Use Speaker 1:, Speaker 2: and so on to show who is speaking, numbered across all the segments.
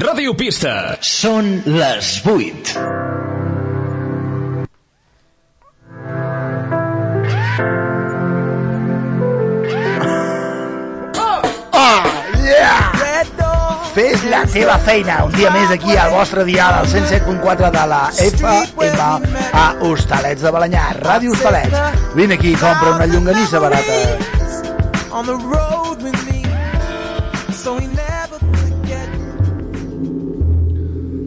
Speaker 1: Ràdio Pista.
Speaker 2: Són les 8. Fes la teva feina un dia més aquí al vostre dial al 107.4 de la FM a Hostalets de Balanyà, Ràdio Hostalets. Vine aquí i compra una llonganissa barata.
Speaker 3: on the road with me so we never forget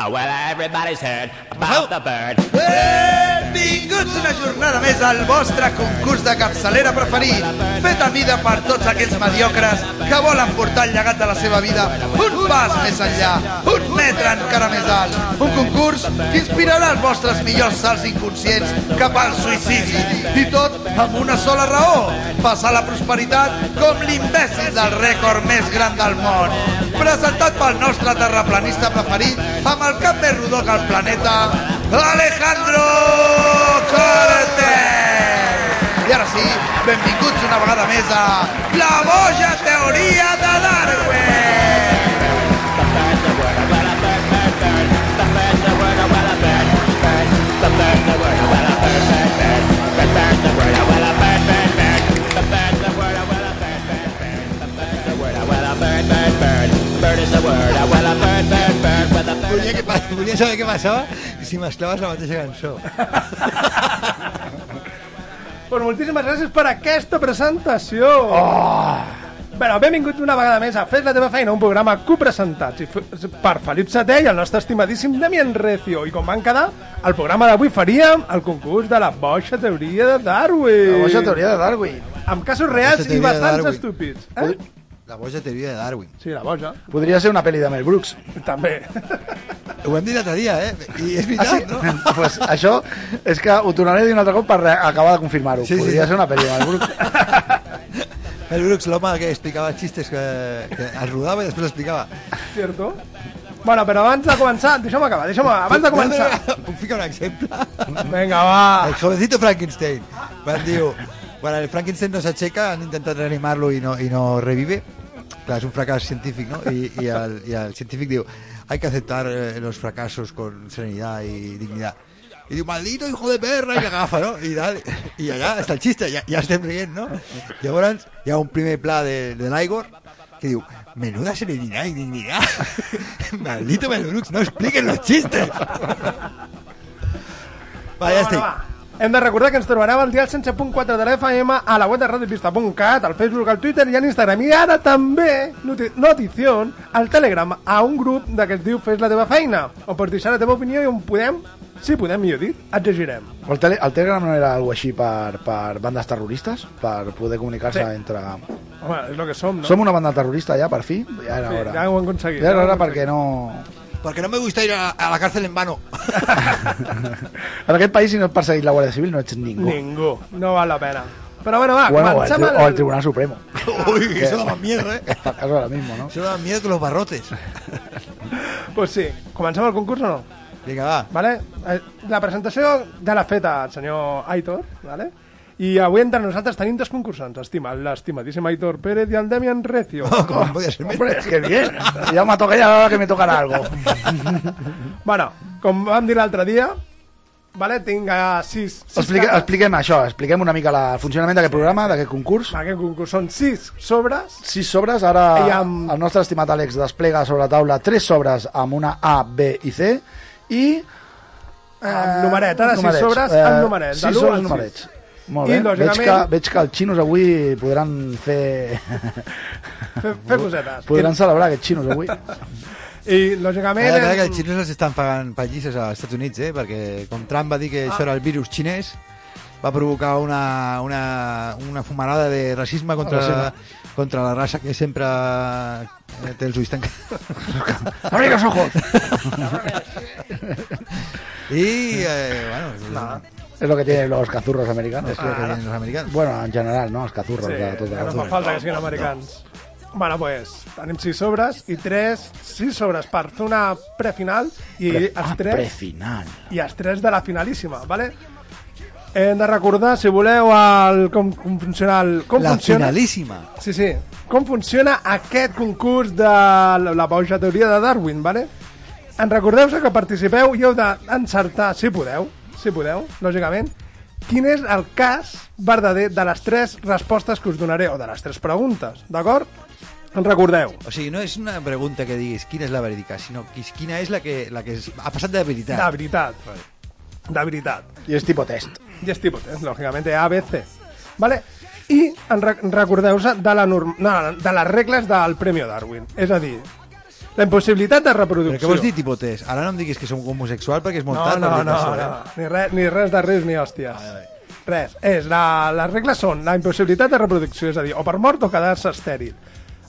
Speaker 4: Oh, well, everybody's heard about the bird.
Speaker 5: Benvinguts una jornada més al vostre concurs de capçalera preferit, fet a mida per tots aquells mediocres que volen portar el llegat de la seva vida un pas més enllà, un metre encara més alt. Un concurs que inspirarà els vostres millors salts inconscients cap al suïcidi. I tot amb una sola raó, passar la prosperitat com l'imbècil del rècord més gran del món. Presentat pel nostre terraplanista preferit, amb el cap més rodó que el planeta, Alejandro Cortés! I ara sí, benvinguts una vegada més a La boja teoria de Darwin!
Speaker 6: Volia, que, pa- volia saber què passava si mesclaves la mateixa cançó.
Speaker 7: Doncs moltíssimes gràcies per aquesta presentació. Oh! Bueno, benvinguts una vegada més a Fes la teva feina, un programa copresentat i f- per Felip Setè i el nostre estimadíssim Damián Recio. I com van quedar, el programa d'avui faríem el concurs de la boixa teoria de Darwin.
Speaker 2: La boja teoria de Darwin.
Speaker 7: Amb casos reals i
Speaker 6: teoria de
Speaker 7: bastants
Speaker 6: Darwin.
Speaker 7: estúpids. Eh?
Speaker 6: La boja teoria de Darwin.
Speaker 7: Sí, la boja,
Speaker 2: Podria ser una pel·li de Mel Brooks.
Speaker 7: també.
Speaker 6: Ho hem dit l'altre dia, eh? I és
Speaker 7: Ah,
Speaker 6: veritat, no?
Speaker 2: Ah, pues això és que ho tornaré a dir un altre cop per re- acabar de confirmar-ho.
Speaker 6: Sí, sí.
Speaker 2: Podria ser una pel·li de Mel Brooks.
Speaker 6: El Brooks, l'home que explicava xistes que, que es rodava i després l'explicava.
Speaker 7: Cierto? Bueno, però abans de començar, deixa'm acabar, deixa'm acabar. Abans de començar...
Speaker 6: Puc ficar un exemple?
Speaker 7: Vinga, va.
Speaker 6: El jovencito Frankenstein. Quan diu... Quan el Frankenstein no s'aixeca, han intentat reanimarlo i no, i no revive. Clar, és un fracàs científic, no? I, i, el, i el científic diu, hay que aceptar eh, los fracasos con serenidad y dignidad. I diu, maldito hijo de perra, i l'agafa, no? I, dale, I allà està el xiste, ja, ja estem rient, no? Llavors hi ha un primer pla de, de l'Igor que diu, menuda serenidad y dignidad. maldito Melbrux, no expliquen los chistes. Va, ja estic.
Speaker 7: Hem de recordar que ens trobareu al dial 107.4 de l'FM, a la web de radiopista.cat, al Facebook, al Twitter i a l'Instagram. I ara també, noti notició, al Telegram, a un grup de que es diu Fes la teva feina. O pots deixar la teva opinió i on podem, si podem, millor dit, et llegirem.
Speaker 2: El, tele, el Telegram no era alguna així per, per bandes terroristes? Per poder comunicar-se
Speaker 7: Sí.
Speaker 2: entre...
Speaker 7: Home, és el que som, no?
Speaker 2: Som una banda terrorista ja, per fi? Ja era
Speaker 7: Sí,
Speaker 2: hora.
Speaker 7: ja ho hem aconseguit,
Speaker 2: Ja
Speaker 7: ja ho
Speaker 2: era
Speaker 7: hem
Speaker 2: hora perquè no...
Speaker 6: Porque no me gusta ir a, a la cárcel en vano.
Speaker 2: en aquest país, si no et perseguís la Guàrdia Civil, no ets ningú. Ah,
Speaker 7: Ningú. No val la pena. Però bueno, va,
Speaker 2: Bueno, o el,
Speaker 7: comencem
Speaker 2: tri-
Speaker 7: el...
Speaker 2: o el Tribunal Supremo.
Speaker 6: Uy, eso da más miedo, ¿eh?
Speaker 2: Fracaso ahora mismo, ¿no?
Speaker 6: Eso da más miedo que los barrotes.
Speaker 7: Pues sí, comencem el concurs o no?
Speaker 6: Venga, va.
Speaker 7: Vale? Eh, La presentació ja l'ha feta el senyor Aitor, vale? i avui entre nosaltres tenim dos concursants, estima, l'estimadíssim Aitor Pérez i el Demian Recio.
Speaker 6: ¿Cómo podía ser menos?
Speaker 2: Hombre, qué bien. Ya me toca ya la hora que me tocará algo.
Speaker 7: bueno, com vam dir l'altre dia, vale? tinc a sis... sis
Speaker 2: Explique,
Speaker 7: cartes.
Speaker 2: expliquem això, expliquem una mica la, el funcionament d'aquest programa, d'aquest concurs.
Speaker 7: Aquest concurs són sis sobres,
Speaker 2: Sis sobres, ara
Speaker 7: I amb-
Speaker 2: el nostre estimat Àlex desplega sobre la taula tres sobres amb una A, B i C i...
Speaker 7: amb numerets, Eh, ara
Speaker 2: Eh, numerets.
Speaker 7: sis sobres
Speaker 2: Eh,
Speaker 7: amb numerets. de
Speaker 2: Sis
Speaker 7: l'u
Speaker 2: sobres
Speaker 7: al
Speaker 2: amb
Speaker 7: sis.
Speaker 2: numerets. Molt
Speaker 7: I,
Speaker 2: bé. veig,
Speaker 7: lògicament-
Speaker 2: que, veig que els xinos avui podran fer...
Speaker 7: Fer, fer cosetes.
Speaker 2: podran Eh, celebrar aquests xinos avui.
Speaker 7: I,
Speaker 6: Cada
Speaker 7: lògicament...
Speaker 6: vegada que els
Speaker 2: Ah.
Speaker 6: xinesos estan pagant pallisses als Estats Units, eh? Perquè com Trump va dir que això era el virus xinès, va provocar una, una, una fumarada de racisme contra,
Speaker 7: Ah, sí,
Speaker 6: la, contra la raça que sempre eh, té els ulls tancats.
Speaker 2: Abre los ojos.
Speaker 6: I, eh, bueno, és
Speaker 2: Ah,
Speaker 6: no.
Speaker 2: Es lo que tienen los cazurros americanos.
Speaker 6: que tenen els americans.
Speaker 2: ah. Bueno, en general, ¿no? Els cazurros
Speaker 7: Ah. Sí,
Speaker 2: de tota
Speaker 7: que
Speaker 2: la
Speaker 7: no fa
Speaker 2: zona.
Speaker 7: falta que siguin americans. Bueno, pues, tenim sis sobres i tres, sis sobres per fer una prefinal i els
Speaker 2: Ah,
Speaker 7: tres
Speaker 2: prefinal.
Speaker 7: i els tres de la finalíssima, ¿vale? Hem de recordar, si voleu, el, com, com funciona el, com
Speaker 6: La
Speaker 7: funciona,
Speaker 6: finalíssima.
Speaker 7: Sí, sí. Com funciona aquest concurs de la la boja teoria de Darwin, vale? En recordeu que participeu i heu d'encertar, si podeu, si podeu, lògicament, quin és el cas verdader de les tres respostes que us donaré, o de les tres preguntes, d'acord? En recordeu.
Speaker 6: O sigui, no és una pregunta que diguis quina és la verídica, sinó qui- quina és la que, la que es- ha passat de veritat.
Speaker 7: De veritat. De veritat.
Speaker 2: I és tipus test.
Speaker 7: Y es tipo test, lógicamente, eh, A, B, C. ¿Vale? I en re recordeu-vos de, la norm no, de les regles del Premi Darwin. És a dir, la impossibilitat de
Speaker 6: Però
Speaker 7: reproducció.
Speaker 6: què vols dir, tipotès? Ara no em diguis que som homosexual perquè és molt
Speaker 7: No,
Speaker 6: tard. per
Speaker 7: no,
Speaker 6: dir-te
Speaker 7: no,
Speaker 6: això,
Speaker 7: no.
Speaker 6: eh?
Speaker 7: Ni, re, ni res de res ni hòsties. Res. És, la, les regles són la impossibilitat de reproducció, és a dir, o per mort o quedar-se estèril.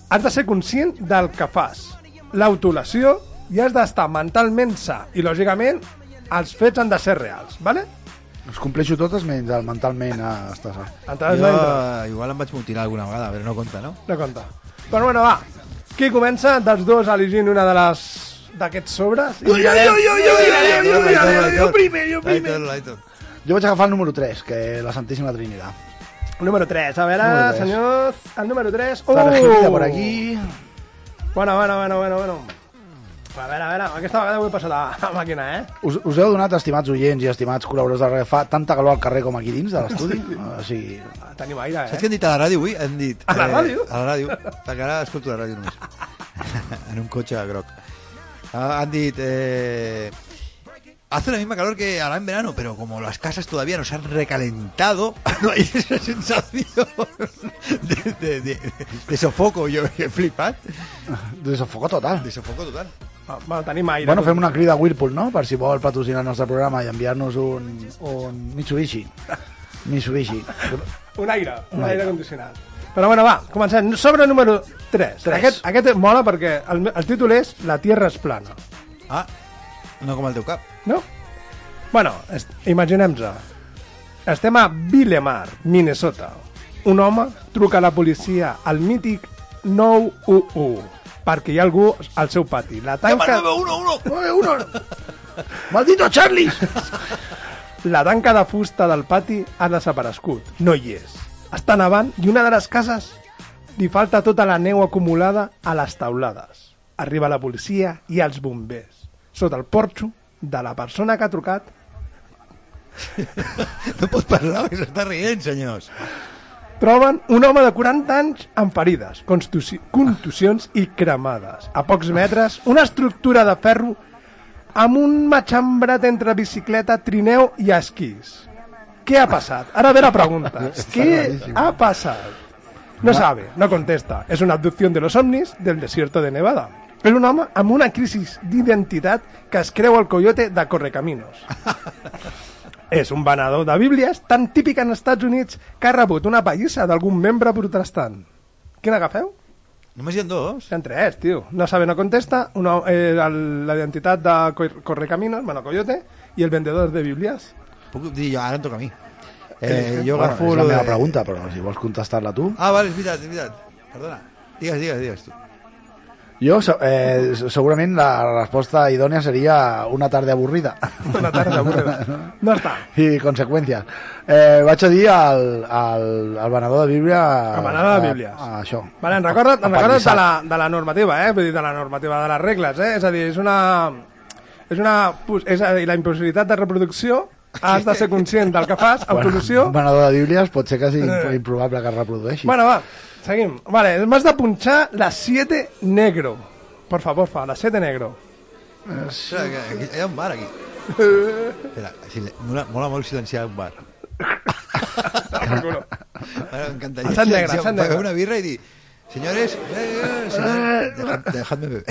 Speaker 7: Has de ser conscient del que fas, l'autolació, i has d'estar mentalment sa. I, lògicament, els fets han de ser reals, ¿vale?
Speaker 2: Els compleixo totes menys el mentalment a estar
Speaker 7: Entrades
Speaker 6: Jo,
Speaker 7: no entres.
Speaker 6: eh, igual em vaig mutilar alguna vegada, però no compta, no?
Speaker 7: No compta. Però bueno, va. Qui comença dels dos elegint una de les d'aquests sobres? I mirarem-
Speaker 6: jo primer, jo primer.
Speaker 2: Jo vaig agafar el número 3, que la Santíssima Trinidad.
Speaker 7: Número 3, a veure,
Speaker 2: Número tres.
Speaker 7: senyors, el número 3. Oh!
Speaker 2: Tarajita per aquí.
Speaker 7: Bueno, bueno, bueno, bueno, bueno. A veure, a veure, aquesta vegada vull passar la, la màquina, eh?
Speaker 2: Us, us heu donat, estimats oients i estimats col·laboradors de Radio, fa tanta calor al carrer com aquí dins de l'estudi. Ah, O sigui,
Speaker 7: Tenim aire,
Speaker 6: Saps
Speaker 7: eh?
Speaker 6: què han dit a la ràdio avui? Han dit... eh,
Speaker 7: A la ràdio?
Speaker 6: A la ràdio, perquè ara escolto la ràdio només. en un cotxe groc. Ah, han dit... Eh, Hace la misma calor que ahora en verano, pero como las casas todavía nos han recalentado, no hay esa sensación de, de, de, de sofoco, yo he flipado.
Speaker 2: desafogó total.
Speaker 6: De sofoco total.
Speaker 7: Va, Bueno, tenim aire.
Speaker 2: Bueno, fem una crida a Whirlpool, no? Per si vol patrocinar el nostre programa i enviar-nos un, un Mitsubishi. Mitsubishi.
Speaker 7: Un aire, un aire condicionat. Però bueno, va, comencem. Sobre número 3.
Speaker 2: Tres.
Speaker 7: Aquest, aquest mola perquè el, el títol és La Tierra és plana.
Speaker 6: Ah, no com el teu cap.
Speaker 7: No? Bueno, est- imaginem-nos. Estem a Villemar, Minnesota. Un home truca a la policia al mític 911 perquè hi ha algú al seu pati. La tanca,
Speaker 2: Maldito Charlies!
Speaker 7: la tanca de fusta del pati ha desaparegut. No hi és. Està nevant i una de les cases li falta tota la neu acumulada a les taulades. Arriba la policia i els bombers sota el porxo de la persona que ha trucat
Speaker 6: No pots parlar, que s'està rient, senyors.
Speaker 7: Troben un home de 40 anys amb ferides, contusi- contusions i cremades. A pocs metres, una estructura de ferro amb un matxambrat entre bicicleta, trineu i esquís. Què ha passat? Ara ve la pregunta. Què ha passat? No sabe, no contesta. Es una abducción de los ovnis del desierto de Nevada. És un home amb una crisi d'identitat que es creu el coyote de Correcaminos. És un venedor de bíblies tan típic en Estats Units que ha rebut una pallissa d'algun membre protestant. Quina agafeu?
Speaker 6: Només hi ha dos.
Speaker 7: Són tres, tio. No sabe, no contesta. Una, eh, el- la identitat de Cor- Correcaminos, bueno, Coyote, i el vendedor de bíblies.
Speaker 6: Puc dir jo, ara em toca a mi. Eh, jo
Speaker 2: Bueno,
Speaker 6: agafo...
Speaker 2: és la
Speaker 6: lo
Speaker 2: meva
Speaker 6: de-
Speaker 2: pregunta, però si vols contestar-la tu...
Speaker 6: Ah, vale, és veritat, és veritat. Perdona. Digues, digues, digues tu.
Speaker 2: Jo, se- eh, segurament, la resposta idònea seria una tarda avorrida.
Speaker 7: Una tarda avorrida. No està.
Speaker 2: I conseqüències. Eh, vaig a dir al, al, al venedor de Bíblia...
Speaker 7: El venedor de bíblies.
Speaker 2: A, a Ah, això.
Speaker 7: Vale, en recorda't, en recorda't de,
Speaker 2: Apallissat.
Speaker 7: la, de la normativa, eh? Vull dir, de la normativa de les regles, eh? És a dir, és una... És una... pos- És a dir, la impossibilitat de reproducció has de ser conscient del que fas, autolusió...
Speaker 2: Un venedor de Bíblies pot ser quasi imp- improbable que es reprodueixi.
Speaker 7: Eh. Bueno, va, seguim. Vale, m'has de punxar la 7 negro. Por favor, fa, la 7 negro.
Speaker 6: Espera, que aquí, hi ha un bar aquí. Espera, sil... mola, mola molt silenciar un bar. Ara m'encantaria
Speaker 7: Sant Negre,
Speaker 6: silenciar,
Speaker 7: Sant Negre.
Speaker 6: pagar una birra i dir... Senyores, eh, eh, senyores, dejad- dejadme beber.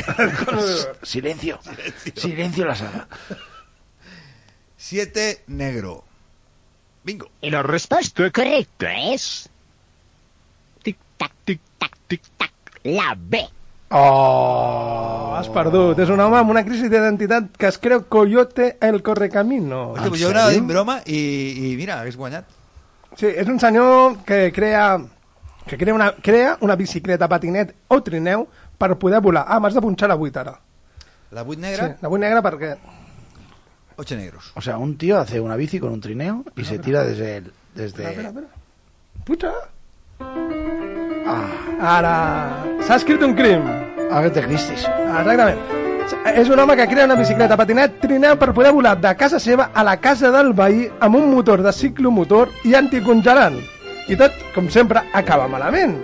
Speaker 2: Silencio. Silencio. Silencio a la sala.
Speaker 6: Siete negro. Bingo.
Speaker 1: Y la respuesta correcta es... Tic-tac, tic-tac, tic-tac, la B.
Speaker 7: Oh, has perdut. És un home amb una crisi d'identitat que es creu Coyote el Correcamino.
Speaker 6: Hòstia, pues jo anava dient broma i, i mira, hagués guanyat.
Speaker 7: Sí, és un senyor que crea que crea una, crea una bicicleta, patinet o trineu per poder volar. Ah, m'has de punxar la 8 ara.
Speaker 6: La 8
Speaker 7: Sí,
Speaker 6: negra,
Speaker 7: la 8 negra perquè...
Speaker 6: 8 negros.
Speaker 2: O sea, un tío hace una bici con un trineo y se tira desde el. Desde...
Speaker 7: Puta! Ah. Ara... S'ha escrit un crim.
Speaker 2: Agatha Christie.
Speaker 7: Exactament. És un home que crea una bicicleta patinet trineu per poder volar de casa seva a la casa del veí amb un motor de ciclomotor i anticongelant. I tot, com sempre, acaba malament.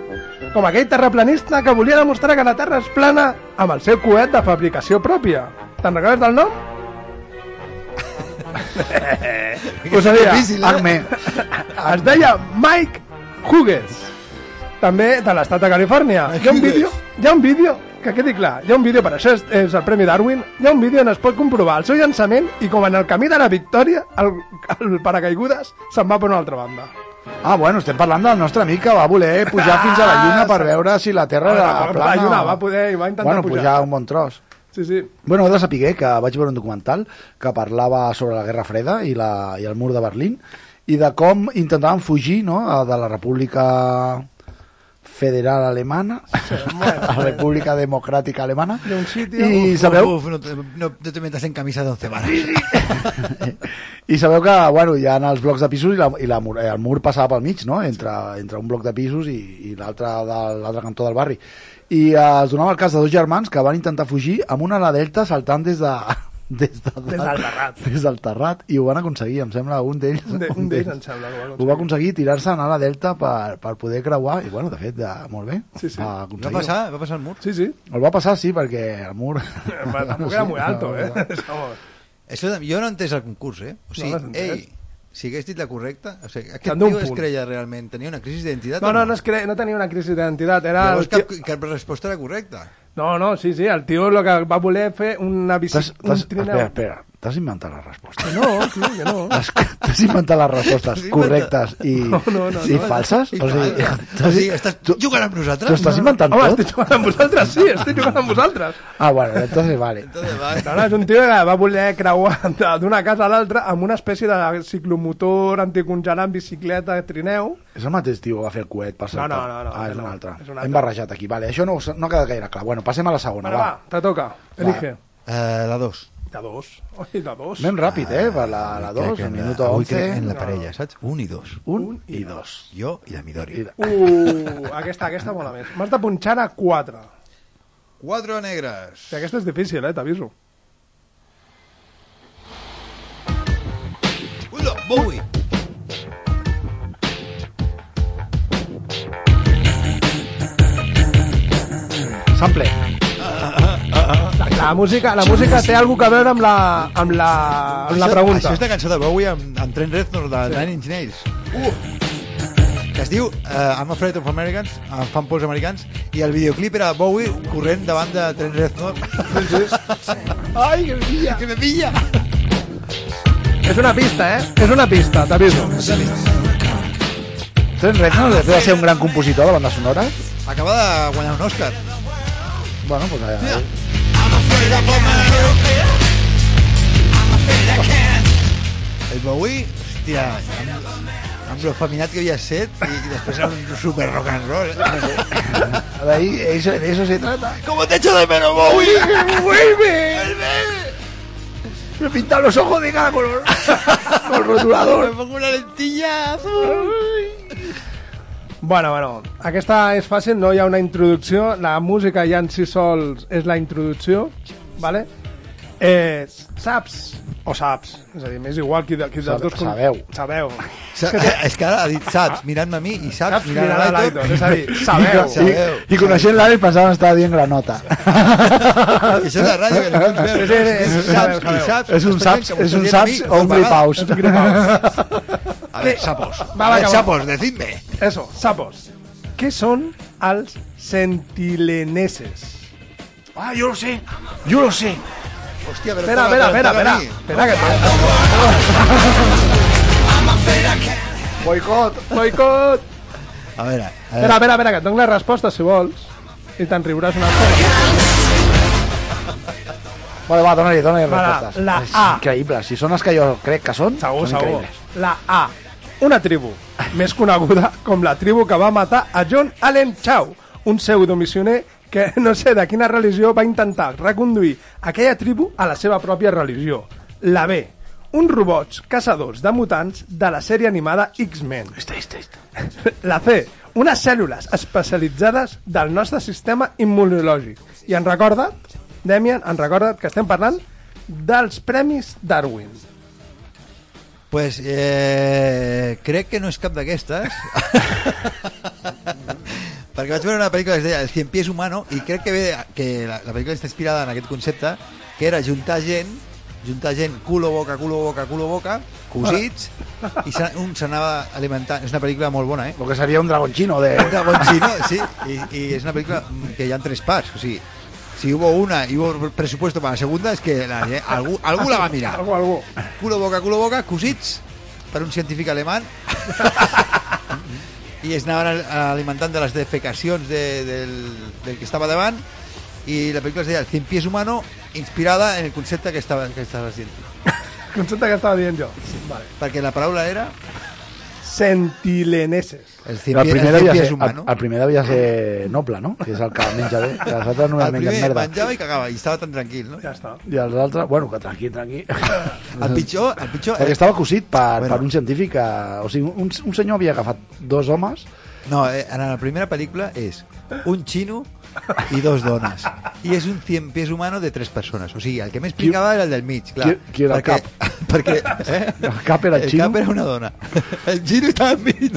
Speaker 7: Com aquell terraplanista que volia demostrar que la Terra és plana amb el seu coet de fabricació pròpia. Te'n recordes del nom? Ho sabia.
Speaker 6: Difícil, eh?
Speaker 2: Acme.
Speaker 7: Es deia Mike Hughes, també de l'estat de Califòrnia. Hi ha un vídeo, hi ha un vídeo, que quedi clar, hi ha un vídeo, per això és, és el Premi Darwin, hi ha un vídeo on es pot comprovar el seu llançament i com en el camí de la victòria, el, el paracaigudes se'n va per una altra banda.
Speaker 2: Ah, bueno, estem parlant del nostre amic que va voler pujar fins a la Lluna per veure si la Terra era
Speaker 7: Bueno, va
Speaker 2: plana.
Speaker 7: a Ah, la Lluna,
Speaker 2: o-
Speaker 7: va poder i va intentar
Speaker 2: bueno,
Speaker 7: pujar.
Speaker 2: pujar un bon tros.
Speaker 7: Sí, sí.
Speaker 2: Bueno, he de saber que vaig veure un documental que parlava sobre la Guerra Freda i, la, i el mur de Berlín i de com intentaven fugir no, de la República Federal Alemana, la República Democràtica Alemana,
Speaker 7: De un sitio-
Speaker 2: i
Speaker 6: Uf,
Speaker 2: sabeu,
Speaker 6: Uf, no, te- no, no te metas en camisa de 11 varas.
Speaker 2: I sabeu que, bueno, hi ha els blocs de pisos i, la, i la, mur- eh, el mur passava pel mig, no?, entre, entre un bloc de pisos i, i l'altre de l'altre cantó del barri. I eh, es donava el cas de dos germans que van intentar fugir amb una ala delta saltant des de... Des, de, des del terrat. Des del terrat, i ho van aconseguir, em sembla, un d'ells.
Speaker 7: Un de- un d'ells, em sembla, que ho va
Speaker 2: Ho va aconseguir tirar-se en ala delta per, per poder creuar, i bueno, de fet, eh, molt bé.
Speaker 7: Sí, sí.
Speaker 2: Va
Speaker 6: Va
Speaker 2: aconseguir.
Speaker 6: passar, va passar el mur.
Speaker 7: Sí, sí.
Speaker 2: El va passar, sí, perquè el mur...
Speaker 7: Va, tampoc era muy alto, eh? Vamos.
Speaker 6: Això de- jo no he entès el concurs, eh? O sigui,
Speaker 7: No l'has entès?
Speaker 6: ei, si hagués dit la correcta... O sigui,
Speaker 7: Te'n
Speaker 6: aquest
Speaker 7: dono un
Speaker 6: tio es
Speaker 7: punt.
Speaker 6: creia realment, tenia una crisi d'identitat?
Speaker 7: No,
Speaker 6: o
Speaker 7: no, no, es cre... no tenia una crisi d'identitat. Era
Speaker 2: Ah,
Speaker 7: el
Speaker 6: Llavors
Speaker 7: tio...
Speaker 6: cap, cap resposta era correcta.
Speaker 7: No, no, sí, sí, el tio lo que va voler fer una bici...
Speaker 2: T'has-
Speaker 7: Un
Speaker 2: t'has-
Speaker 7: trineu.
Speaker 2: Espera, espera, t'has inventat la resposta.
Speaker 7: Que no, tio, que no.
Speaker 2: T'has t'has inventat les respostes
Speaker 6: T'has inventat-
Speaker 2: correctes i,
Speaker 7: No, no, no,
Speaker 2: i
Speaker 7: no.
Speaker 2: falses?
Speaker 6: I
Speaker 2: O sigui,
Speaker 6: clar, o
Speaker 2: t'has-
Speaker 6: sigui estàs
Speaker 2: tu-
Speaker 6: jugant amb
Speaker 2: T'ho
Speaker 6: nosaltres?
Speaker 2: estàs inventant
Speaker 7: Home,
Speaker 2: tot?
Speaker 7: estic jugant amb vosaltres, sí, estic jugant amb vosaltres.
Speaker 2: Ah, bueno, entonces vale.
Speaker 6: Entonces, va.
Speaker 7: No, no, és un tio que va voler creuar de- d'una casa a l'altra amb una espècie de ciclomotor, anticongelant, bicicleta, trineu.
Speaker 2: És el mateix tio que va fer el coet per saltar.
Speaker 7: no, no, no,
Speaker 2: ah, és
Speaker 7: no,
Speaker 2: un
Speaker 7: no,
Speaker 2: altre.
Speaker 7: és un altre.
Speaker 2: Hem barrejat aquí. Vale, això no, us- no ha quedat gaire clar. Bueno, passem a la segona,
Speaker 7: Bueno, va,
Speaker 2: va.
Speaker 7: te toca. Elige.
Speaker 6: Eh, la 2.
Speaker 7: De dos. Ui, de dos.
Speaker 2: Anem ràpid, eh? Per la, la dos, el minuto
Speaker 6: Avui crec
Speaker 2: 11.
Speaker 6: en la parella, saps? Un i dos.
Speaker 2: Un i dos.
Speaker 6: Jo i la Midori.
Speaker 2: I la-
Speaker 7: Uh, aquesta, aquesta mola més. M'has de punxar a 4.
Speaker 6: Quatre negres.
Speaker 7: Sí, aquesta és difícil, eh, t'aviso.
Speaker 6: Ula, Bowie.
Speaker 2: Sample.
Speaker 7: La música, la música té alguna cosa a veure amb la, amb la, amb la
Speaker 6: Això-
Speaker 7: pregunta.
Speaker 6: Això és la cançó de Bowie amb, amb Trent Reznor de Nine Inch Nails. Uh! Que es diu uh, I'm Afraid of Americans, em fan pols americans, i el videoclip era Bowie corrent davant de Trent Reznor. Ai, que me pilla! Que me pilla!
Speaker 7: És una pista, eh? És una pista, t'aviso.
Speaker 2: Trent Reznor, després de ser un gran compositor de banda sonora,
Speaker 6: Acaba de guanyar un Òscar.
Speaker 2: bueno, pues, eh,
Speaker 6: El Bowie, hòstia, amb, amb lo feminat que havia set i, i després era un super rock and roll. eh?
Speaker 2: d'ahí, eso, de eso se trata.
Speaker 6: ¿Cómo te echo de menos, Bowie?
Speaker 2: ¡Vuelve! Me pintan los ojos de cara con, con rotulador.
Speaker 6: Me pongo una lentilla azul.
Speaker 7: Bueno, bueno, aquesta és fàcil, no hi ha una introducció, la música ja en si sols és la introducció, vale? Eh, saps, o saps, és a dir, m'és igual qui, de, qui dels
Speaker 2: Sabe-
Speaker 7: dos... con-
Speaker 2: sabeu.
Speaker 7: Sabeu.
Speaker 6: Sa- eh, És que ara ha dit saps, mirant-me a mi, i saps,
Speaker 7: Saps qui
Speaker 6: mirant a
Speaker 7: era l'Aitor,
Speaker 6: l'Aitor.
Speaker 7: és a dir, sabeu.
Speaker 6: Sí.
Speaker 7: Sí,
Speaker 2: Y, y conociendo la vez pensaban que estaba bien granota.
Speaker 6: Això és la ràdio, que ningú ens
Speaker 7: Sí,
Speaker 6: veu.
Speaker 7: sí, sí,
Speaker 6: És
Speaker 7: sí,
Speaker 6: saps,
Speaker 7: sabeu,
Speaker 6: i saps.
Speaker 2: Es un
Speaker 6: Estàs
Speaker 2: saps,
Speaker 6: fent que
Speaker 2: es
Speaker 6: m'ho
Speaker 2: un
Speaker 6: estàs dient a
Speaker 2: saps
Speaker 6: mi, que
Speaker 2: o un
Speaker 6: m'ho estàs
Speaker 2: gripaus.
Speaker 6: pagant. A ver, sapos.
Speaker 7: Va, va,
Speaker 6: A ver,
Speaker 7: que
Speaker 6: sapos, decidme.
Speaker 7: Eso, sapos. Què són els sentileneses?
Speaker 2: Ah, yo lo sé, yo lo sé.
Speaker 6: Hòstia, però...
Speaker 7: Espera, espera, espera, espera. Espera, que...
Speaker 2: Boicot!
Speaker 7: Boicot!
Speaker 6: A veure, a
Speaker 7: Espera,
Speaker 6: veure.
Speaker 7: espera, espera, que et dono la resposta, si vols. I te'n riuràs una cosa.
Speaker 2: Vale, va, dona-li, dona-li
Speaker 7: Va, la-
Speaker 2: respostes.
Speaker 7: la
Speaker 2: És
Speaker 7: A.
Speaker 2: Increïble, si són els que jo crec que són,
Speaker 7: Segur,
Speaker 2: són
Speaker 7: segur.
Speaker 2: increïbles.
Speaker 7: La A. Una tribu, més coneguda com la tribu que va matar a John Allen Chow, un pseudomissioner que no sé de quina religió va intentar reconduir aquella tribu a la seva pròpia religió. La B. Uns robots caçadors de mutants de la sèrie animada X-Men. La C, unes cèl·lules especialitzades del nostre sistema immunològic. I en recorda't, Demian, en recorda't que estem parlant dels Premis Darwin.
Speaker 6: Pues eh, crec que no és cap d'aquestes. Perquè vaig veure una pel·lícula que es deia El cien pies humano i crec que, ve, que la, la pel·lícula està inspirada en aquest concepte que era juntar gent juntar gent culo boca, culo boca, culo boca cosits i se- un s'anava alimentant és una pel·lícula molt bona eh?
Speaker 2: Lo que seria un dragon chino de...
Speaker 6: Dragon Chino, sí, y, y es una película que ya en tres parts, o sigui, si hubo una y hubo presupuesto para la segunda, es que la, eh, algú, algú la va a mirar.
Speaker 7: Algú, algú.
Speaker 6: Culo boca, culo boca, cosits, per un científic alemán. I es anaven alimentant de les defecacions de, del, del que estava davant i la pel·lícula es deia El cien pies humano inspirada en el concepte que estava que estaves dient.
Speaker 7: Concepte que estava dient jo. Vale.
Speaker 6: Perquè la paraula era
Speaker 7: Sentileneses.
Speaker 6: El cien,
Speaker 2: El
Speaker 6: pie-
Speaker 2: primer,
Speaker 6: el cien
Speaker 2: devia
Speaker 6: pies
Speaker 2: ser, el,
Speaker 6: humano.
Speaker 2: el primer devia ser noble, no? Que és el que menja bé, que els altres només
Speaker 6: El
Speaker 2: mengen
Speaker 6: primer
Speaker 2: merda.
Speaker 6: menjava i cagava i estava tan tranquil, no?
Speaker 7: Ja està.
Speaker 2: I els altres, bueno, que tranqui, tranqui.
Speaker 6: El pitjor, el pitjor...
Speaker 2: Perquè estava cosit per,
Speaker 6: Bueno.
Speaker 2: bueno. per un científic que... O sigui, un, un senyor havia agafat dos homes
Speaker 6: No, eh, en la primera película es un chino y dos dones. Y es un cien pies humano de tres personas. O sigui, el que me explicaba era el del mig, clar.
Speaker 2: qui- qui era el
Speaker 6: cap? Perquè, eh?
Speaker 2: El cap era
Speaker 6: el
Speaker 2: xino?
Speaker 6: cap era una dona. El chino estava enmig.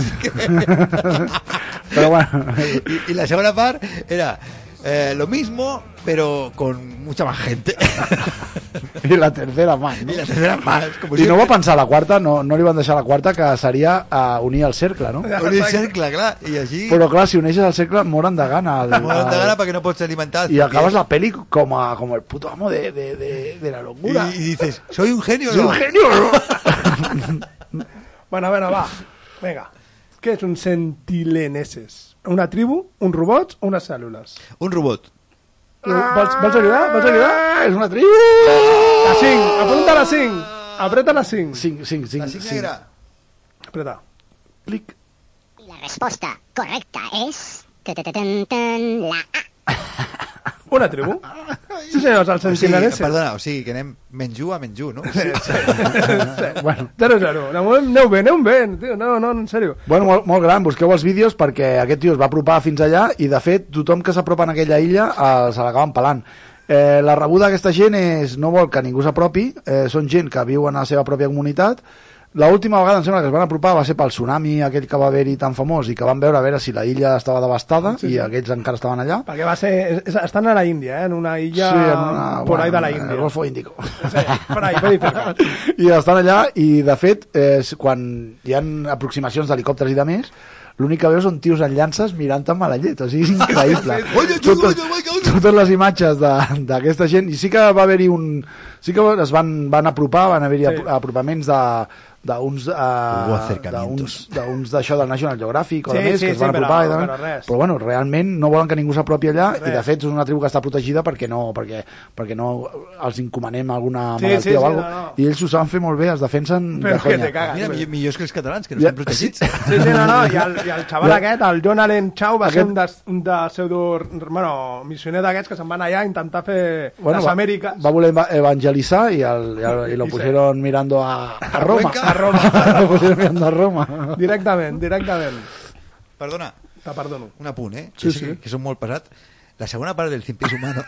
Speaker 2: Però bueno.
Speaker 6: I, I la segona part era eh, lo mismo, pero con mucha más gente.
Speaker 2: i la tercera mà,
Speaker 6: y
Speaker 2: no?
Speaker 6: la tercera más. Como
Speaker 2: I no va
Speaker 6: siempre.
Speaker 2: pensar la quarta, no, no li van deixar la quarta, que seria a unir el cercle, no?
Speaker 6: Un cercle, clar. I així...
Speaker 2: Però clar, si uneixes el cercle, moren de gana. El,
Speaker 6: Moren de
Speaker 2: el-
Speaker 6: gana perquè no pots alimentar.
Speaker 2: Y acabas la peli como, a- como el puto amo de, de, de, de la
Speaker 6: Y,
Speaker 2: locura.
Speaker 6: y dices, soy un genio.
Speaker 2: ¡Es un
Speaker 6: ¿no?
Speaker 2: genio!
Speaker 7: Bueno, bueno, va. Vinga. Què és un sentileneses? Una tribu, uns robots o unes cèl·lules?
Speaker 6: Un robot.
Speaker 7: Vols, vols ajudar? Vols ajudar?
Speaker 2: ¡Es una tribu!
Speaker 6: Ah.
Speaker 7: La 5, apunta la 5. Apreta la 5.
Speaker 2: Sing, sing, sing,
Speaker 6: La signa
Speaker 2: sing.
Speaker 6: era...
Speaker 7: Apreta.
Speaker 2: Clic.
Speaker 1: La resposta correcta és... ta-ta-ta-tan-tan, La A.
Speaker 7: Una tribu? Sí, senyors, els
Speaker 6: O sigui,
Speaker 7: sentileneses.
Speaker 6: perdona, o sigui, que anem menys u a menys u, no?
Speaker 2: Eh, Bueno.
Speaker 7: 0-0. Aneu, aneu bé, aneu bé, tio. No, no, en sèrio.
Speaker 2: Bueno, molt, molt gran, busqueu els vídeos perquè aquest tio es va apropar fins allà i de fet tothom que s'apropa en aquella illa eh, se l'acaben pelant. Eh, la rebuda d'aquesta gent és no vol que ningú s'apropi, eh, són gent que viu en la seva pròpia comunitat. La última vegada em sembla que es van apropar va ser pel tsunami aquell que va haver-hi tan famós i que van veure a veure si la illa estava devastada sí, sí. i aquells encara estaven allà.
Speaker 7: Perquè va ser... És, estan a la Índia, eh? En una illa
Speaker 2: en ah,
Speaker 7: por
Speaker 2: bueno,
Speaker 7: ahí de la
Speaker 2: El
Speaker 7: Índia.
Speaker 2: Golfo Índico.
Speaker 7: Sí, por ahí, por ahí cerca.
Speaker 2: I estan allà, i de fet, és quan hi han aproximacions d'helicòpters i de més, l'únic que veus són tios en llances mirant amb la llet, o sigui, és increïble.
Speaker 6: Oye, chico,
Speaker 2: totes,
Speaker 6: oye, oye, oye.
Speaker 2: totes les imatges de- d'aquesta gent, i sí que va haver-hi un... Sí que es van, van apropar, van haver-hi
Speaker 7: Sí.
Speaker 2: sí. apropaments de d'uns
Speaker 6: Hubo
Speaker 2: eh,
Speaker 6: acercamientos.
Speaker 2: d'uns- d'uns d'això del National Geographic o
Speaker 7: Sí,
Speaker 2: de més,
Speaker 7: sí,
Speaker 2: que es van
Speaker 7: sí, però-
Speaker 2: apropar i de-
Speaker 7: però res.
Speaker 2: però bueno, realment no volen que ningú s'apropi allà i de
Speaker 7: Res.
Speaker 2: fet és una tribu que està protegida perquè no, perquè, perquè no els incomanem alguna
Speaker 7: Sí,
Speaker 2: malaltia
Speaker 7: sí, sí,
Speaker 2: o alguna
Speaker 7: no, no.
Speaker 2: i ells ho saben fer molt bé, es defensen
Speaker 7: Però
Speaker 2: de
Speaker 7: que
Speaker 2: conya.
Speaker 7: te cagas.
Speaker 6: Mira, millor, millors que els catalans, que no
Speaker 2: Ja.
Speaker 6: estan protegits.
Speaker 7: Sí, sí, no, no, i el, i el xaval
Speaker 2: Ja.
Speaker 7: aquest, el John Allen Chau, va ser
Speaker 2: Aquest-
Speaker 7: un de, un de pseudo... Bueno, missioner d'aquests que se'n van allà a intentar fer bueno, les
Speaker 2: va,
Speaker 7: Amèriques.
Speaker 2: va voler eva- evangelizar y, al, y, al- y lo
Speaker 7: Y se-
Speaker 2: pusieron mirando a, a Roma.
Speaker 6: Cuenca. A
Speaker 7: Roma.
Speaker 2: lo pusieron mirando a Roma.
Speaker 7: Directament, directament.
Speaker 6: Perdona,
Speaker 7: Te perdono.
Speaker 6: un apunt, eh?
Speaker 2: Sí,
Speaker 6: que,
Speaker 2: sí.
Speaker 6: Que són molt pesat. La segona part del cien pies humano.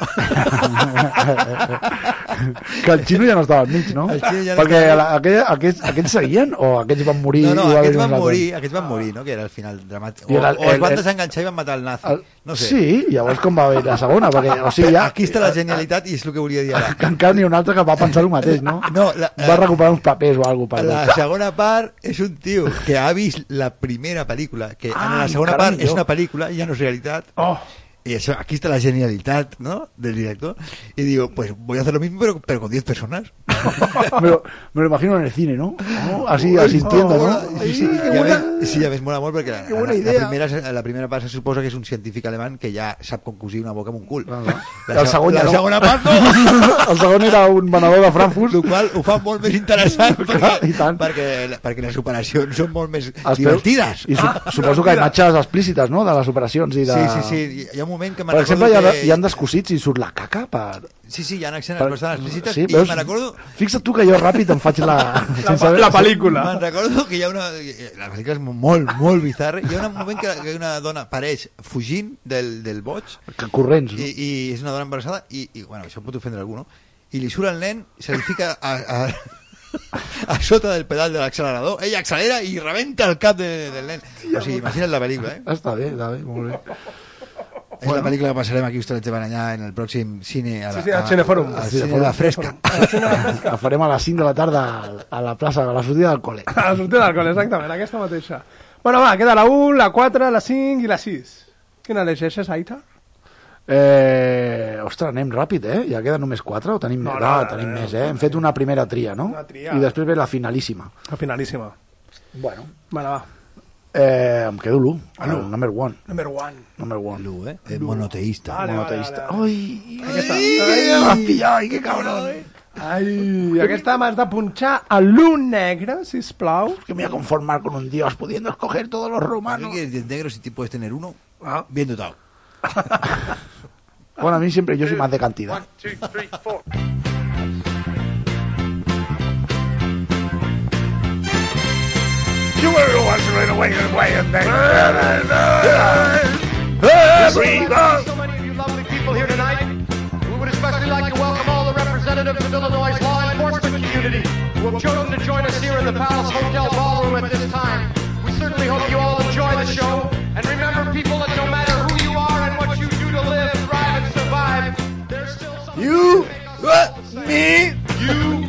Speaker 2: que el xino ja no estava enmig, no?
Speaker 6: El xino ja no
Speaker 2: Perquè
Speaker 6: estava
Speaker 2: la, aquell, aquests, aquests seguien o aquells van morir?
Speaker 6: No, no,
Speaker 2: i va haver-hi
Speaker 6: aquests
Speaker 2: uns
Speaker 6: van
Speaker 2: altres?
Speaker 6: morir, aquests van morir, no? Que era el final
Speaker 2: I
Speaker 6: dramàtic. O,
Speaker 2: el-
Speaker 6: o es
Speaker 2: el-
Speaker 6: van
Speaker 2: el-
Speaker 6: desenganxar i van matar el nazi.
Speaker 2: El...
Speaker 6: No sé.
Speaker 2: Sí, llavors com va haver la segona? Perquè, o sigui, ja, Ah,
Speaker 6: Aquí està la genialitat i és el que volia dir ara.
Speaker 2: que encara n'hi ha un altre que va pensar el mateix, no?
Speaker 6: No, la- eh,
Speaker 2: va recuperar uns papers o alguna cosa.
Speaker 6: La
Speaker 2: La...
Speaker 6: segona part és un tio que ha vist la primera pel·lícula, que en
Speaker 2: Ai,
Speaker 6: la segona
Speaker 2: caram,
Speaker 6: part és
Speaker 2: jo.
Speaker 6: una pel·lícula, ja no és realitat,
Speaker 7: Oh,
Speaker 6: Y eso, aquí está la genialidad ¿no? del director. Y digo, pues voy a hacer lo mismo, pero, pero con 10 personas.
Speaker 2: Ah, me, lo, me lo imagino en el cine, ¿no? ¿No? Así asistiendo, ¿no?
Speaker 6: Sí, sí,
Speaker 2: Qué
Speaker 6: ya
Speaker 2: buena-
Speaker 6: ves, sí, ja ves, mola molt, perquè la,
Speaker 2: Qué buena
Speaker 6: la, la,
Speaker 2: idea.
Speaker 6: primera, se- la primera part se suposa que és un científic alemany que ja sap com cosir una boca amb un cul. La,
Speaker 2: El segon,
Speaker 6: la,
Speaker 2: ja no.
Speaker 6: segona part, no.
Speaker 2: el segon era un venedor de
Speaker 6: el
Speaker 2: Frankfurt.
Speaker 6: qual ho fa molt més interessant,
Speaker 2: Clar, i
Speaker 6: perquè,
Speaker 2: tant.
Speaker 6: perquè, perquè les operacions són molt més
Speaker 2: Els peus-
Speaker 6: divertides.
Speaker 2: I su suposo que hi ha imatges explícites, no?, de les operacions i de...
Speaker 6: Ah, Sí, sí, sí, hi ha un moment que me'n
Speaker 2: Per exemple, hi ha,
Speaker 6: recordo
Speaker 2: hi ha descosits i surt la caca per...
Speaker 6: Sí, sí, hi ha escenes
Speaker 2: per...
Speaker 6: bastant explícites
Speaker 2: Sí,
Speaker 6: sí, i
Speaker 2: veus?
Speaker 6: me'n recordo
Speaker 2: Fixa't tu que jo ràpid em faig la... sense
Speaker 7: pa-
Speaker 2: haver-
Speaker 7: la pel·lícula.
Speaker 6: Me'n recordo que hi ha una... La pel·lícula és molt, molt bizarra. Hi ha un moment que, que una dona apareix fugint del, del boig
Speaker 2: Que corrents, no?
Speaker 6: i, i és una dona embarassada i, i bueno, això pot ofendre algú, no? I li surt el nen, se li fica a, a, a sota del pedal de l'accelerador, ella accelera i rebenta el cap de, del nen. O sigui, imagina't la pel·lícula, eh?
Speaker 2: Està bé, està bé, molt bé.
Speaker 6: És la pel·lícula que passarem aquí a Hostalets de Baranyà en el pròxim cine... A la,
Speaker 7: Sí, sí, al Cineforum.
Speaker 6: Al Cineforum. Fresca.
Speaker 2: La farem a les 5 de la tarda al- a la plaça, a la sortida del col·le.
Speaker 7: A la sortida del col, exactament, aquesta mateixa. Bueno, va, queda la 1, la 4, la 5 i la 6. Quina elegeixes, Aita?
Speaker 2: Eh, ostres, anem ràpid, eh? Ja queden només 4 o tenim, no, no, no, tenim més, eh? Hem fet una primera tria, no?
Speaker 7: Una tria.
Speaker 2: I després ve la finalíssima.
Speaker 7: La finalíssima.
Speaker 2: Bueno.
Speaker 7: Bueno, va.
Speaker 2: Eh, em quedo l'1, el number one.
Speaker 7: Number 1.
Speaker 2: Number one.
Speaker 6: Lu, eh? És monoteista.
Speaker 7: Vale,
Speaker 2: Monoteista.
Speaker 7: vale,
Speaker 2: Ai, ai, ai, m'has pillat, ai, que cabrón.
Speaker 7: Ai, aquesta m'has de punxar a l'1 negre, sisplau.
Speaker 2: Que me voy a conformar con un dios pudiendo escoger todos los
Speaker 6: Así
Speaker 2: romanos.
Speaker 6: que de negro si te puedes tener uno,
Speaker 7: Ah.
Speaker 6: bien dotado.
Speaker 2: Bueno, a mí siempre yo soy más de cantidad.
Speaker 6: You, me, you,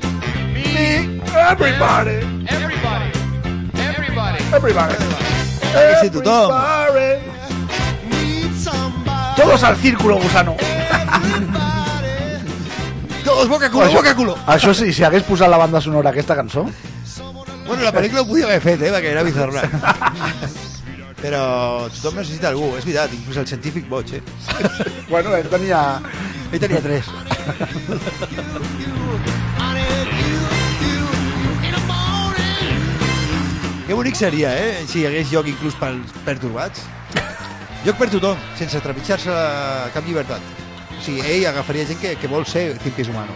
Speaker 6: me, everybody. Everybody. Everybody. Everybody. tothom.
Speaker 2: Todos al círculo, gusano.
Speaker 6: Todos boca culo, boca culo.
Speaker 2: Això sí, si hagués posat la banda sonora a aquesta cançó,
Speaker 6: Bueno, la pel·lícula ho podia haver fet, eh, perquè era bizarra. Però tothom necessita algú, és veritat, inclús el científic boig, eh?
Speaker 2: bueno, ell tenia...
Speaker 6: Ell tenia tres. Que bonic seria, eh? Si hi hagués lloc inclús pels pertorbats. Lloc per tothom, sense trepitjar-se cap llibertat. O sigui, ell agafaria gent que, que vol ser cimpis humano.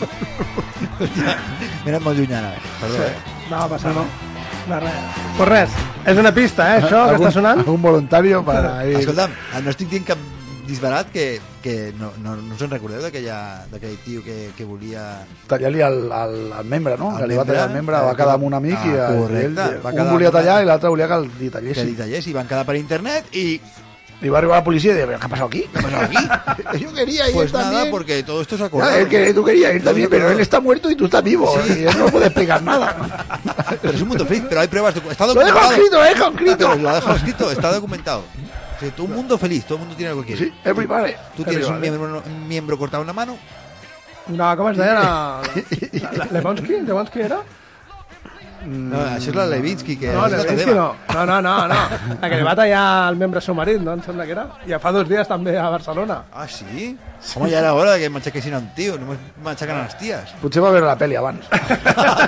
Speaker 6: ja, m'he anat molt lluny ara, perdó, eh?
Speaker 7: No, passa, no. No, res. Pues res, és una pista, eh, això que està sonant.
Speaker 2: Un voluntario para ir...
Speaker 6: Escolta'm, no estic dient cap disbarat que, que no, no, no us en recordeu d'aquella- d'aquell tio que, que volia
Speaker 2: Tallar-li el, el, el membre, no?
Speaker 6: El
Speaker 2: que li va
Speaker 6: membre,
Speaker 2: tallar el membre, va
Speaker 6: eh,
Speaker 2: quedar amb un amic
Speaker 6: ah,
Speaker 2: i el,
Speaker 6: correcte,
Speaker 2: ell,
Speaker 6: va
Speaker 2: un
Speaker 6: quedar
Speaker 2: volia
Speaker 6: amb un
Speaker 2: tallar
Speaker 6: amic.
Speaker 2: i l'altre volia que el li
Speaker 6: que li
Speaker 2: tallessin.
Speaker 6: tallés i van quedar per internet i
Speaker 2: I va arribar la policia i deia, "Però què ha passat aquí? Què ha passat aquí? Yo quería ir
Speaker 6: pues nada,
Speaker 2: también.
Speaker 6: porque todo esto se
Speaker 2: Ah,
Speaker 6: acordó.
Speaker 2: él que tú querías ir también, pero él está muerto y tú estás vivo.
Speaker 6: Sí.
Speaker 2: Y él no puede explicar nada.
Speaker 6: Ah, Pero es un mundo feliz, pero hay pruebas. docu- Está
Speaker 2: Lo dejo
Speaker 6: documentado.
Speaker 2: escrito, lo dejo escrito.
Speaker 6: Pero lo ha dejado escrito, está documentado. O sea, todo un mundo feliz, todo el mundo tiene algo que quiere.
Speaker 2: Sí, everybody.
Speaker 6: Tú tienes un
Speaker 2: everybody.
Speaker 6: miembro, un miembro cortado en la mano.
Speaker 7: No, com es deia? La... la- la- Lewandowski? Lewandowski era?
Speaker 6: No, això és la Levinsky, que
Speaker 7: No,
Speaker 6: és la
Speaker 7: Lewandowski
Speaker 6: teva.
Speaker 7: no. No, no, no, no. La que li va tallar el membre al seu marit, no? Em sembla que era. I fa dos dies també a Barcelona.
Speaker 6: Ah, sí? Home, ja era hora de que machaquessin a un tio, no machacan a les ties.
Speaker 2: Potser va veure la pel·li abans.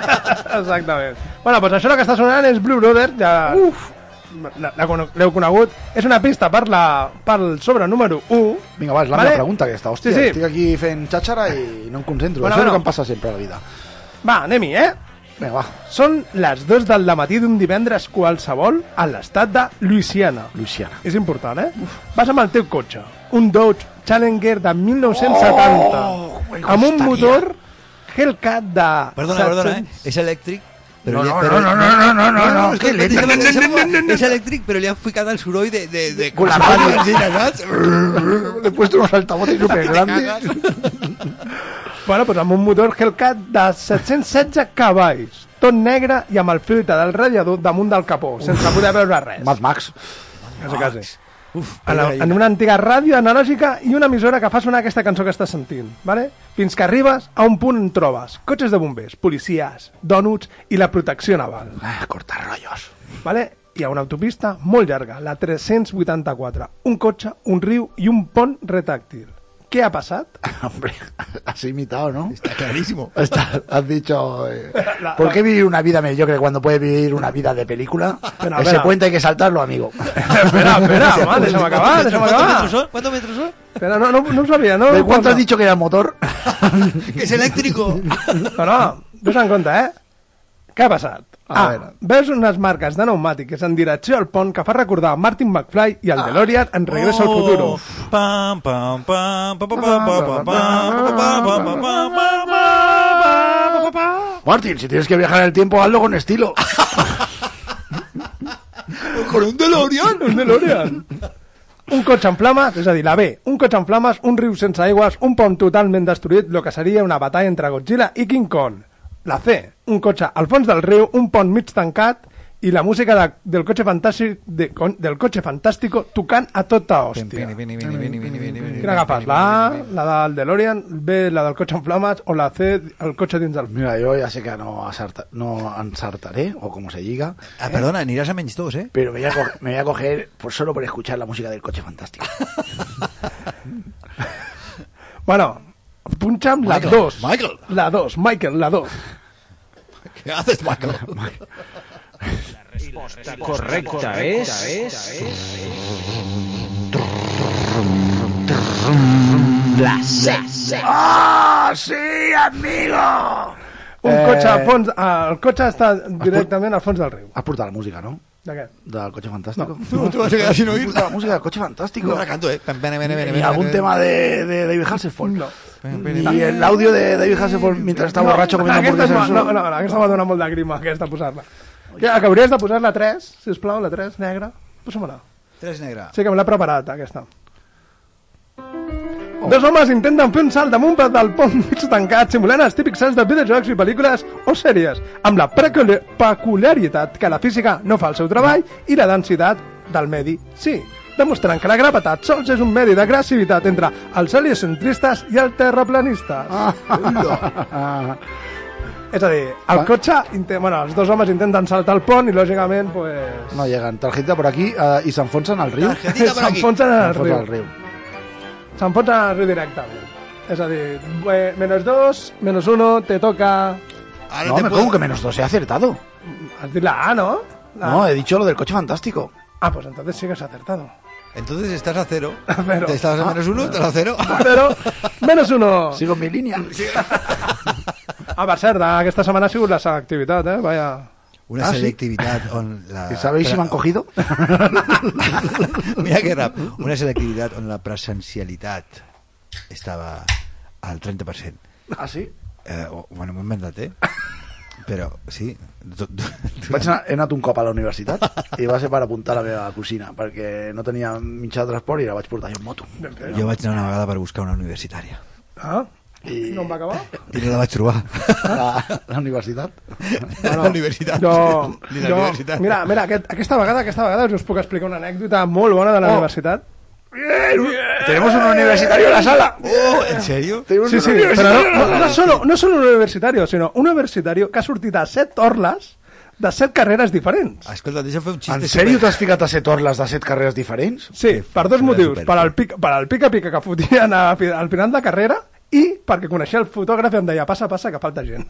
Speaker 7: Exactament. Bueno, doncs això que està sonant és Blue Brother, ja... Uf! L'heu conegut. És una pista per la, pel sobre número 1.
Speaker 2: Vinga, va, és la
Speaker 7: Vale.
Speaker 2: meva pregunta aquesta. Hòstia,
Speaker 7: Sí, sí.
Speaker 2: estic aquí fent xàxara i no em concentro.
Speaker 7: Bueno,
Speaker 2: Això és
Speaker 7: bueno.
Speaker 2: el que em passa sempre a la vida.
Speaker 7: Va, anem-hi, eh?
Speaker 2: Vinga, va,
Speaker 7: Són les 2 del matí d'un divendres qualsevol a l'estat de Louisiana.
Speaker 2: Luciana.
Speaker 7: És important, eh? Vas amb el teu cotxe, un Dodge Challenger de 1970,
Speaker 6: Oh,
Speaker 2: me
Speaker 7: amb un
Speaker 2: gustaría.
Speaker 7: motor Hellcat de...
Speaker 6: Perdona, perdona, eh?
Speaker 7: 700.
Speaker 6: És elèctric, però...
Speaker 2: No,
Speaker 6: li-
Speaker 2: no,
Speaker 6: però-
Speaker 2: no, no, no, no, no, no,
Speaker 6: és
Speaker 2: que
Speaker 6: que-
Speaker 2: elèctric.
Speaker 6: deixa'm- deixa'm- És elèctric, però li han ficat el soroll de... de, de
Speaker 2: Con la
Speaker 6: de-
Speaker 2: radio.
Speaker 6: de- saps?
Speaker 2: Le he puesto unos altavoces súper grandes.
Speaker 7: Bueno, doncs amb un motor Hellcat de 716 cavalls, tot negre i amb el filtre del radiador damunt del capó, sense poder veure res.
Speaker 2: Mad Max.
Speaker 7: Quasi, quasi.
Speaker 6: Uf,
Speaker 7: en, la, en una antiga ràdio analògica i una emissora que fa sonar aquesta cançó que estàs sentint, vale? fins que arribes a un punt on trobes cotxes de bombers, policies, dònuts i la protecció naval.
Speaker 2: Ah, cortar rotllos.
Speaker 7: Vale? Hi ha una autopista molt llarga, la 384, un cotxe, un riu i un pont retàctil. Què ha passat?
Speaker 2: Hombre, has imitado, ¿no?
Speaker 6: Está clarísimo.
Speaker 2: Está- has dicho... eh,
Speaker 7: La-
Speaker 2: ¿Por
Speaker 7: la-
Speaker 2: qué vivir una vida mediocre cuando puedes vivir una vida de película?
Speaker 7: Pero,
Speaker 2: Ese
Speaker 7: espera.
Speaker 2: puente hay que saltarlo, amigo.
Speaker 7: espera, espera, home, deixa'm acabar, deixa'm
Speaker 6: ¿Cuántos metros
Speaker 7: acabar.
Speaker 6: son? ¿Cuántos metros son?
Speaker 7: Espera, no, no, no ho sabia, no?
Speaker 2: ¿De
Speaker 7: ho
Speaker 2: cuánto has
Speaker 7: porta.
Speaker 2: dicho que era el motor?
Speaker 6: Que es eléctrico.
Speaker 7: No, no, ves en compte, eh? Què ha passat?
Speaker 6: A
Speaker 7: A,
Speaker 6: veure.
Speaker 7: veus unes marques de pneumàtics en direcció al pont que fa recordar Martin McFly i el DeLorean en Regreso al Futuro.
Speaker 8: Pam, pam, pam, pam, pam, pam, pam, pam, pam, pam, pam, pam, pam, pam, pam, pam.
Speaker 2: Martín, si tienes que viajar en el tiempo, hazlo con estilo.
Speaker 6: Con un DeLorean.
Speaker 7: Un DeLorean. Un cotxe en flames, és a dir, la B, un cotxe en flames, un riu sense aigües, un pont totalment destruït, lo que seria una batalla entre Godzilla i King Kong. La C, un cotxe al fons del riu, un pont mig tancat i la música de, del cotxe fantàstic de, con- del cotxe fantàstico tocant a tota hòstia.
Speaker 6: Vini, vini, vini, vini, vini, vini, vini.
Speaker 7: Quina agafes? La A, la del DeLorean, B, la del cotxe en flames, o la C, el cotxe dins del...
Speaker 2: Mira, yo ya sé que no, asarta- no ensartaré, o como se diga,
Speaker 6: Ah, perdona, ni irás a Menys 2, ¿eh?
Speaker 2: pero me voy a, co- me voy a coger por, solo por escuchar la música del coche fantástico.
Speaker 7: Bueno, punxa'm la
Speaker 6: Michael,
Speaker 7: 2.
Speaker 6: Michael.
Speaker 7: La 2, Michael, la 2.
Speaker 6: ¿Qué haces, Michael?
Speaker 9: Correcta es...
Speaker 1: La C.
Speaker 2: ¡Ah, sí, amigo!
Speaker 7: Un
Speaker 2: Eh,
Speaker 7: cotxe al fons... ah, El cotxe està directament al fons del riu.
Speaker 2: Has portado la música, ¿no?
Speaker 7: D'aquest.
Speaker 2: Del coche fantástico.
Speaker 6: Tú te vas a quedar sin oír.
Speaker 2: Has portado la música del coche fantástico.
Speaker 6: No la canto, ¿eh? Ven, ven, ven, ven,
Speaker 2: ni
Speaker 6: ven,
Speaker 2: algún
Speaker 6: ven.
Speaker 2: tema de, de David Hasselhoff.
Speaker 7: No.
Speaker 2: Ni el audio de David Hasselhoff mientras está borracho comiendo
Speaker 7: aquesta,
Speaker 2: hamburguesas.
Speaker 7: és ma- no, no, no, aquesta m'ha donat molt de grima, aquesta, posar-la. Ja, que hauries de posar la 3, sisplau, la 3, negra. Posa-me-la.
Speaker 6: Tres negra.
Speaker 7: Sí que me l'ha preparat, aquesta. Dos homes intenten fer un salt damunt del pont mig tancat, simulant els típics salts de videojocs i pel·lícules o sèries, amb la preculi- peculiaritat que la física no fa el seu treball i la densitat del medi sí, demostrant que la gravetat sols és un medi d'agressivitat entre els heliocentristes i els terraplanistes.
Speaker 2: Ah,
Speaker 7: És a dir, el cotxe... inte- Bueno, els dos homes intenten saltar el pont i, lògicament, pues,
Speaker 2: No llegan. Tarjeta por aquí eh, y se enfonsan al río. Se
Speaker 6: Tarjetita por aquí.
Speaker 7: s'enfonsen en el
Speaker 2: enfonsan
Speaker 7: riu.
Speaker 2: al río.
Speaker 7: S'enfonsa en el riu directament. És a dir, eh, menos dos, menos uno, te toca...
Speaker 6: Ahora
Speaker 2: No,
Speaker 6: te
Speaker 2: me
Speaker 6: puedo-
Speaker 2: pongo que menos dos. He acertado.
Speaker 7: Has dit la A, no? La...
Speaker 2: No, eh. he dicho lo del coche fantástico.
Speaker 7: Ah, pues entonces sí que has acertado.
Speaker 6: Entonces estás a cero.
Speaker 7: Pero-
Speaker 6: Te estabas
Speaker 2: Ah.
Speaker 6: a menos uno, estás a cero.
Speaker 7: Però, menos uno. Sí.
Speaker 2: Sigo en mi línea.
Speaker 7: Ah, per cert, aquesta setmana ha sigut la selectivitat, eh? Vaya.
Speaker 6: Una
Speaker 2: Ah, sí.
Speaker 6: selectividad on la...
Speaker 2: ¿Y sabéis si me han cogido?
Speaker 6: Mira que rap. Una selectividad on la presencialidad estaba al 30%.
Speaker 2: ah, sí?
Speaker 6: Eh, o- bueno, m'ho he inventat, eh? Però, sí... Du, du, du,
Speaker 2: Vaig anar, he anat un cop a la universitat i va ser per apuntar la meva cosina perquè no tenia mitjà de transport i la vaig portar jo en moto.
Speaker 6: jo vaig anar una vegada per buscar una universitària.
Speaker 7: Ah?
Speaker 2: I
Speaker 7: No em va acabar?
Speaker 6: I no la vaig trobar.
Speaker 2: la, la universitat.
Speaker 7: Eh.
Speaker 6: la universitat.
Speaker 7: Jo,
Speaker 6: Ni la
Speaker 7: jo,
Speaker 6: universitat.
Speaker 7: mira, mira aquest, aquesta vegada aquesta vegada us puc explicar una anècdota molt bona de la
Speaker 2: Oh.
Speaker 7: universitat.
Speaker 2: Tenemos un universitario en la sala.
Speaker 6: Oh, ¿en serio?
Speaker 2: Tenemos
Speaker 7: Sí,
Speaker 2: un
Speaker 7: sí, pero
Speaker 2: universitario en la
Speaker 7: no, no,
Speaker 2: sala.
Speaker 7: no solo, no solo un universitario, sino un universitario que ha sortit a set orles de set carreres diferents.
Speaker 6: Escolta, deixa fer un xiste.
Speaker 2: En sèrio
Speaker 6: super-
Speaker 2: t'has ficat a set orles de set carreres diferents?
Speaker 7: Sí, per dos
Speaker 6: Era
Speaker 7: motius.
Speaker 6: super.
Speaker 7: Per al pic- per al pica-pica que fotien a, fi- al final de carrera i perquè coneixia el fotògraf i em deia passa, passa, que falta gent.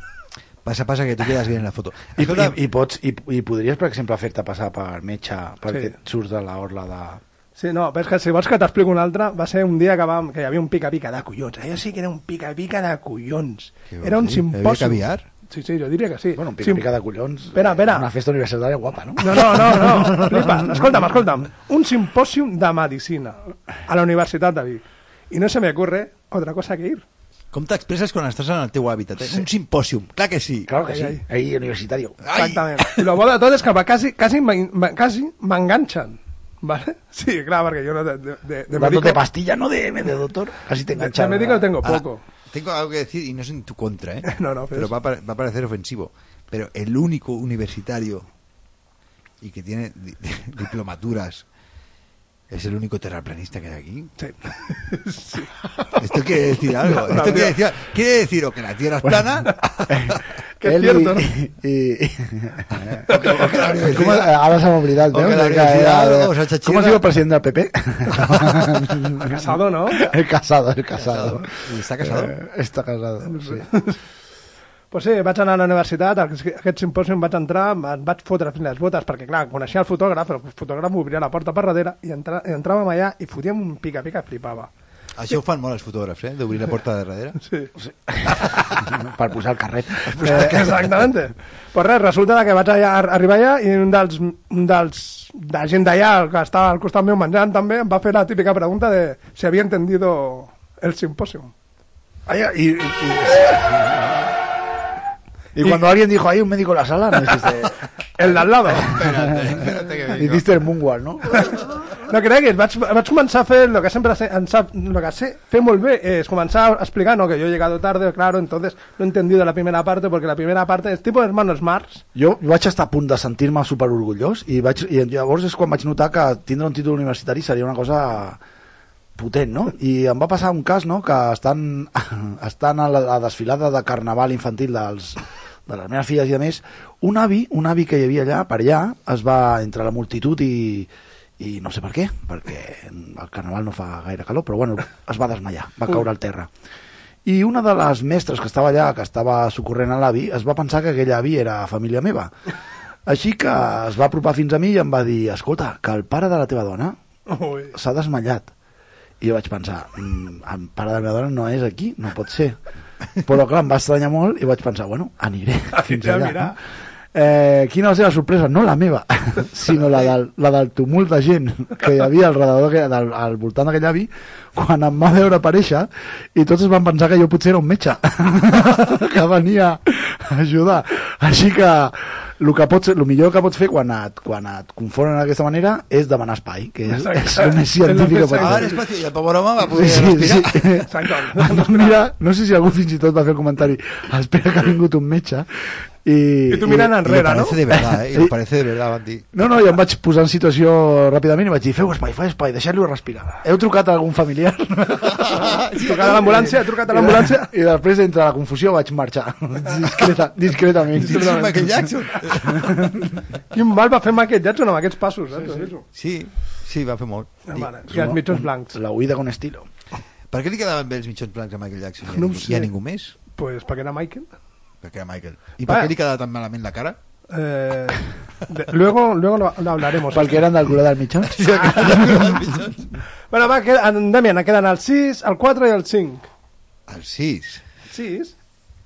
Speaker 6: Passa, passa, que tu quedes bien en la foto.
Speaker 2: I, i,
Speaker 6: Escolta,
Speaker 2: i, pots, i, i podries, per exemple, fer-te passar per metge perquè
Speaker 7: Sí.
Speaker 2: sí. surts de la orla de...
Speaker 7: Sí, no, però és que si vols que t'explico un altre, va ser un dia que, vam, que hi havia un pica-pica de collons. Allò sí que era un pica-pica de collons.
Speaker 6: Què vols
Speaker 7: Era un
Speaker 6: dir?
Speaker 7: simposi.
Speaker 6: Hi havia caviar?
Speaker 7: Sí, sí, jo diria que sí.
Speaker 2: Bueno, un
Speaker 7: Sim-
Speaker 2: pica-pica de collons. eh,
Speaker 7: Espera, espera.
Speaker 2: Una festa universitària guapa, no?
Speaker 7: No, no, no, no. Flipa. Escolta'm, escolta'm. Un simpòsium de medicina a la Universitat de Vic. I no se me ocurre otra cosa que ir.
Speaker 6: com t'expresses quan estàs en el teu hàbitat? Eh? Un simpòsium, clar que sí.
Speaker 2: Claro que
Speaker 7: Ai,
Speaker 2: sí.
Speaker 7: ai.
Speaker 2: Ahí, universitario.
Speaker 7: Exactament. I el bo de tot és que va- quasi, quasi, m'en- m'en- quasi m'enganxen. Vale? Sí, clar, perquè jo no de, de, de, de
Speaker 2: Dándote
Speaker 7: médico,
Speaker 2: pastilla, no de, de doctor. Casi te
Speaker 7: de,
Speaker 2: enganchan.
Speaker 7: médico
Speaker 2: ¿verdad?
Speaker 7: tengo
Speaker 6: Ahora,
Speaker 7: poco.
Speaker 6: tengo algo que decir y no es en tu contra, ¿eh?
Speaker 7: No, no, pero
Speaker 6: pero
Speaker 7: es-
Speaker 6: va a, pare- va a parecer ofensivo. Pero el único universitario y que tiene di- diplomaturas Es el único terraplanista que hay aquí. Esto quiere decir algo.
Speaker 2: No, no,
Speaker 6: Esto quiere
Speaker 2: mira.
Speaker 6: decir, quiere decir o que la Tierra es
Speaker 2: Bueno,
Speaker 6: plana.
Speaker 2: Él y- y- ¿Cómo- ahora se m'ha oblidat,
Speaker 6: O que
Speaker 2: no?
Speaker 6: la
Speaker 2: Que
Speaker 6: universidad,
Speaker 2: era-
Speaker 6: o
Speaker 2: ¿Cómo
Speaker 6: sea, chachirra.
Speaker 2: se diu el president del PP?
Speaker 7: El casado, ¿no?
Speaker 2: El casado, el casado.
Speaker 6: ¿Y está casado?
Speaker 2: Eh, Está casado, sí.
Speaker 7: Pues sí, vaig anar a la universitat, a aquest simpòsium vaig entrar, em vaig fotre fins les botes, perquè clar, coneixia el fotògraf, el fotògraf m'obria la porta per darrere i, entra, i entràvem allà i fotíem un pica-pica que flipava.
Speaker 6: Això ho fan molt els fotògrafs, eh? D'obrir la porta de darrere.
Speaker 7: Sí.
Speaker 2: per posar el carret.
Speaker 7: Eh, exactament. Pues res, resulta que vaig allà, ar- arribar allà i un dels, un dels de gent d'allà que estava al costat meu menjant també em va fer la típica pregunta de si havia entendido el simpòsium.
Speaker 2: Ay, y, y- y- y cuando alguien dijo, hay un médico en la sala, no dijiste,
Speaker 7: El d'al lado.
Speaker 2: hiciste el moonwalk, ¿no?
Speaker 7: No creguis, vaig, vaig començar a fer el que sempre sé, em sap, el que sé fer molt bé, és començar a explicar, no, que yo he llegado tarde, claro, entonces no he entendido la primera parte, porque la primera parte es tipo hermanos Marx,
Speaker 2: Jo vaig estar a punt de sentir-me super orgullós i, vaig, i llavors és quan vaig notar que tindre un títol universitari seria una cosa potent, no? I em va passar un cas, no?, que estan, estan a la, la desfilada de carnaval infantil dels, de les meves filles i a més, un avi, un avi que hi havia allà, per allà, es va entre la multitud i, i no sé per què, perquè el carnaval no fa gaire calor, però bueno, es va desmaiar, va caure al terra. I una de les mestres que estava allà, que estava socorrent a l'avi, es va pensar que aquell avi era família meva. Així que es va apropar fins a mi i em va dir, escolta, que el pare de la teva dona s'ha desmallat. I jo vaig pensar, "Mm, el pare de la meva dona no és aquí, no pot ser. Però clar, em va estranyar molt i vaig pensar, bueno, aniré fins
Speaker 7: a
Speaker 2: allà.
Speaker 7: mirar.
Speaker 2: No? Eh, quina va ser la sorpresa? No la meva, sinó la del, la del tumult de gent que hi havia al, redador, que- del, al voltant d'aquell avi quan em va veure aparèixer i tots es van pensar que jo potser era un metge que venia a ajudar. Així que el, que pots, el millor que pots fer quan et, quan et confonen d'aquesta manera és demanar espai, que és, és el més científic que pots
Speaker 6: Ah,
Speaker 2: fer.
Speaker 6: l'espai, i el pobre home va poder
Speaker 2: Sí, sí,
Speaker 6: respirar.
Speaker 2: sí. Mira, no sé si algú fins i tot va fer el comentari espera que ha vingut un metge i,
Speaker 7: I tu mirant
Speaker 2: i-
Speaker 6: Y le
Speaker 7: enrere,
Speaker 6: parece
Speaker 7: no?
Speaker 6: de verdad, ¿eh? Y le parece de verdad, Bandi.
Speaker 2: No, no, jo em vaig posar en situació ràpidament i vaig dir, feu espai, feu espai, deixeu-lo respirar. Heu trucat a algun familiar?
Speaker 7: Has trucat a l'ambulància, has trucat a l'ambulància.
Speaker 2: I després, entre la confusió, vaig marxar. Discreta, discretament.
Speaker 6: Sí, sí, Michael Jackson.
Speaker 7: Quin mal va fer Michael Jackson amb aquests passos, eh? Sí, sí.
Speaker 6: Sí, sí, va fer molt.
Speaker 7: Ah,
Speaker 6: I-
Speaker 7: mare, I els mitjons blancs.
Speaker 2: La huida con estilo.
Speaker 6: Per què li quedaven bé els mitjons blancs a Michael Jackson? I a
Speaker 7: Ah, No ho
Speaker 6: ningú-
Speaker 7: sé.
Speaker 6: I a ningú més?
Speaker 7: Pues perquè era Michael.
Speaker 6: Perquè era Michael. I per
Speaker 7: Va.
Speaker 6: què li quedava tan malament la cara?
Speaker 7: Eh, de- luego, luego lo, lo hablaremos.
Speaker 2: Pel que eren del culo del mitjà.
Speaker 7: Bueno, va, queda, en Damian, queden el 6, el 4 i el 5.
Speaker 6: El 6,
Speaker 7: 6?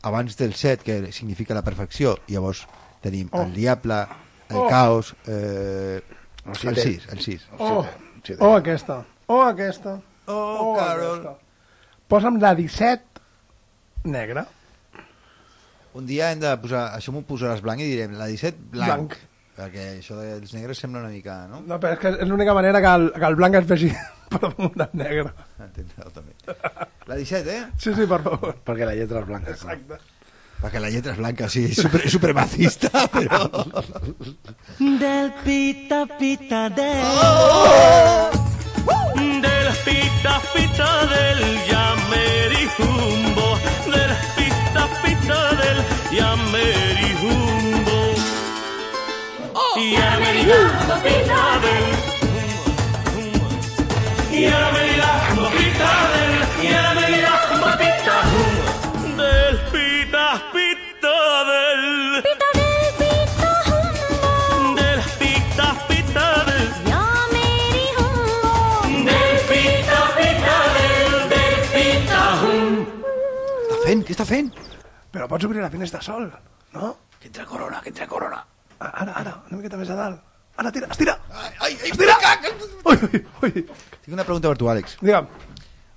Speaker 6: abans del 7, que significa la perfecció, i llavors tenim
Speaker 7: Oh.
Speaker 6: el diable, el
Speaker 7: Oh.
Speaker 6: caos, eh, el
Speaker 2: siete.
Speaker 6: 6, el 6.
Speaker 7: Oh,
Speaker 2: sí,
Speaker 7: oh aquesta. Oh, aquesta.
Speaker 6: Oh, Carol.
Speaker 7: aquesta. Posa'm la 17 negra.
Speaker 6: Un dia hem de posar, això m'ho posaràs blanc i direm la 17 blanc.
Speaker 7: Blanc.
Speaker 6: Perquè això dels negres sembla una mica, no?
Speaker 7: No, però és que és l'única manera que el, que el blanc es vegi per damunt del negre.
Speaker 6: Entendre-ho també. La 17, eh?
Speaker 7: Sí, sí, per favor.
Speaker 2: Perquè la lletra és blanca. clar.
Speaker 6: Perquè la lletra és blanca, sí, és super, supremacista, però...
Speaker 3: Del pita pita del. Del pita pita del yamerijumbo. Del pita pita del yamerijumbo. Yamerijumbo pita del. Yamerijumbo pita del. Yamerijumbo pita hum. Del pita pita del. Del pita pita del. Del pita pita del. Del pita hum.
Speaker 6: Està fent? Què està fent?
Speaker 7: Però pots obrir la finestra sol, no?
Speaker 2: Que entra corona, que entra corona.
Speaker 7: Ah, Ara, ara, una miqueta més a dalt. Ara, tira, estira!
Speaker 6: Ai, ai, ai, espera!
Speaker 7: Ui, ui, ui.
Speaker 6: Tinc una pregunta per tu, Àlex.
Speaker 7: Digue'm.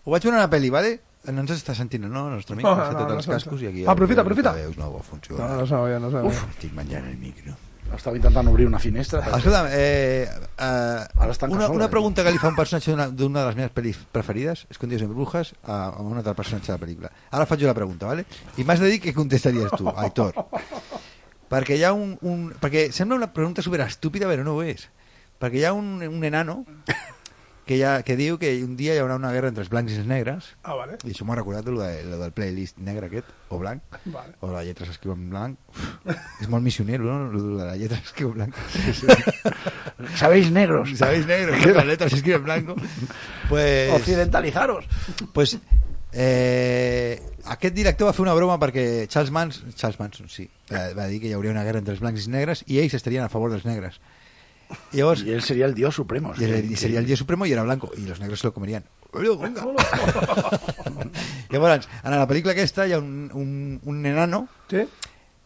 Speaker 6: Ho vaig veure a una pel·li, vale? No ens està sentint, no? El nostre amic
Speaker 7: No,
Speaker 6: no, s'ha
Speaker 7: no,
Speaker 6: no,
Speaker 7: no
Speaker 6: els
Speaker 7: s'entén.
Speaker 6: cascos i aquí...
Speaker 7: Aprofita, aprofita.
Speaker 6: Veus, no,
Speaker 7: No,
Speaker 6: funciona.
Speaker 7: no sabia, no sabia. Uf,
Speaker 6: Estic menjant el micro.
Speaker 2: Estava intentant obrir una finestra.
Speaker 6: Escolta'm, eh, eh,
Speaker 2: Ara es tanca
Speaker 6: una,
Speaker 2: sola,
Speaker 6: una
Speaker 2: eh?
Speaker 6: pregunta que li fa un personatge d'una- d'una de les meves pel·lis preferides, Escondidos en Brujas, a, a un altre personatge de la pel·lícula. Ara faig jo la pregunta, ¿vale? i m'has de dir què contestaries tu, Aitor. Perquè hi ha un... un perquè sembla una pregunta super estúpida, però no ho és. Perquè hi ha un, un enano que, ja, que diu que un dia hi haurà una guerra entre els blancs i els negres.
Speaker 7: Ah, vale.
Speaker 6: I això m'ha recordat lo, de, lo del playlist negre aquest, o blanc,
Speaker 7: Vale.
Speaker 6: o la lletra s'escriu en blanc. Uf, és molt missionero, no? Lo de la lletra s'escriu en blanc.
Speaker 2: Sabéis negros.
Speaker 6: Sabéis negros, ¿no? la letra s'escriu en blanco. Pues...
Speaker 2: Occidentalizaros.
Speaker 6: Pues, eh, aquest director va fer una broma perquè Charles Manson, Charles Manson sí, va, va dir que hi hauria una guerra entre els blancs i els negres i ells estarien a favor dels negres. Llavors,
Speaker 2: Y él sería el dios supremo.
Speaker 6: i, el- i seria el dia supremo i era blanco i els negres se lo comerien. Llavors, en la pel·lícula aquesta hi ha un, un, un enano
Speaker 7: Sí?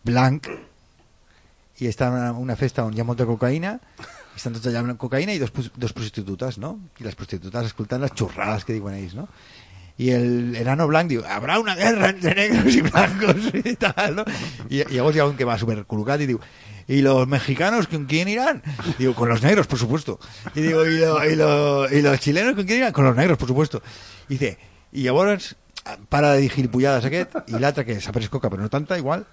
Speaker 6: blanc i està en una, una festa on hi ha molta cocaïna i estan tots allà amb cocaïna i dos, pros- dos prostitutes, no? I les prostitutes escoltant les xorrades que diuen ells, no? I el enano blanc diu, habrá una guerra entre negros y blancos i tal, no? I, i llavors hi ha un que va supercol·locat i diu, ¿y los mexicanos con quién irán? Digo, con los negros, por supuesto. Y digo, ¿y, lo- y lo- y los chilenos con quién irán? Con los negros, por supuesto. I dice, y llavors para de dir gilipollades aquest i l'altre que s'après coca però no tanta igual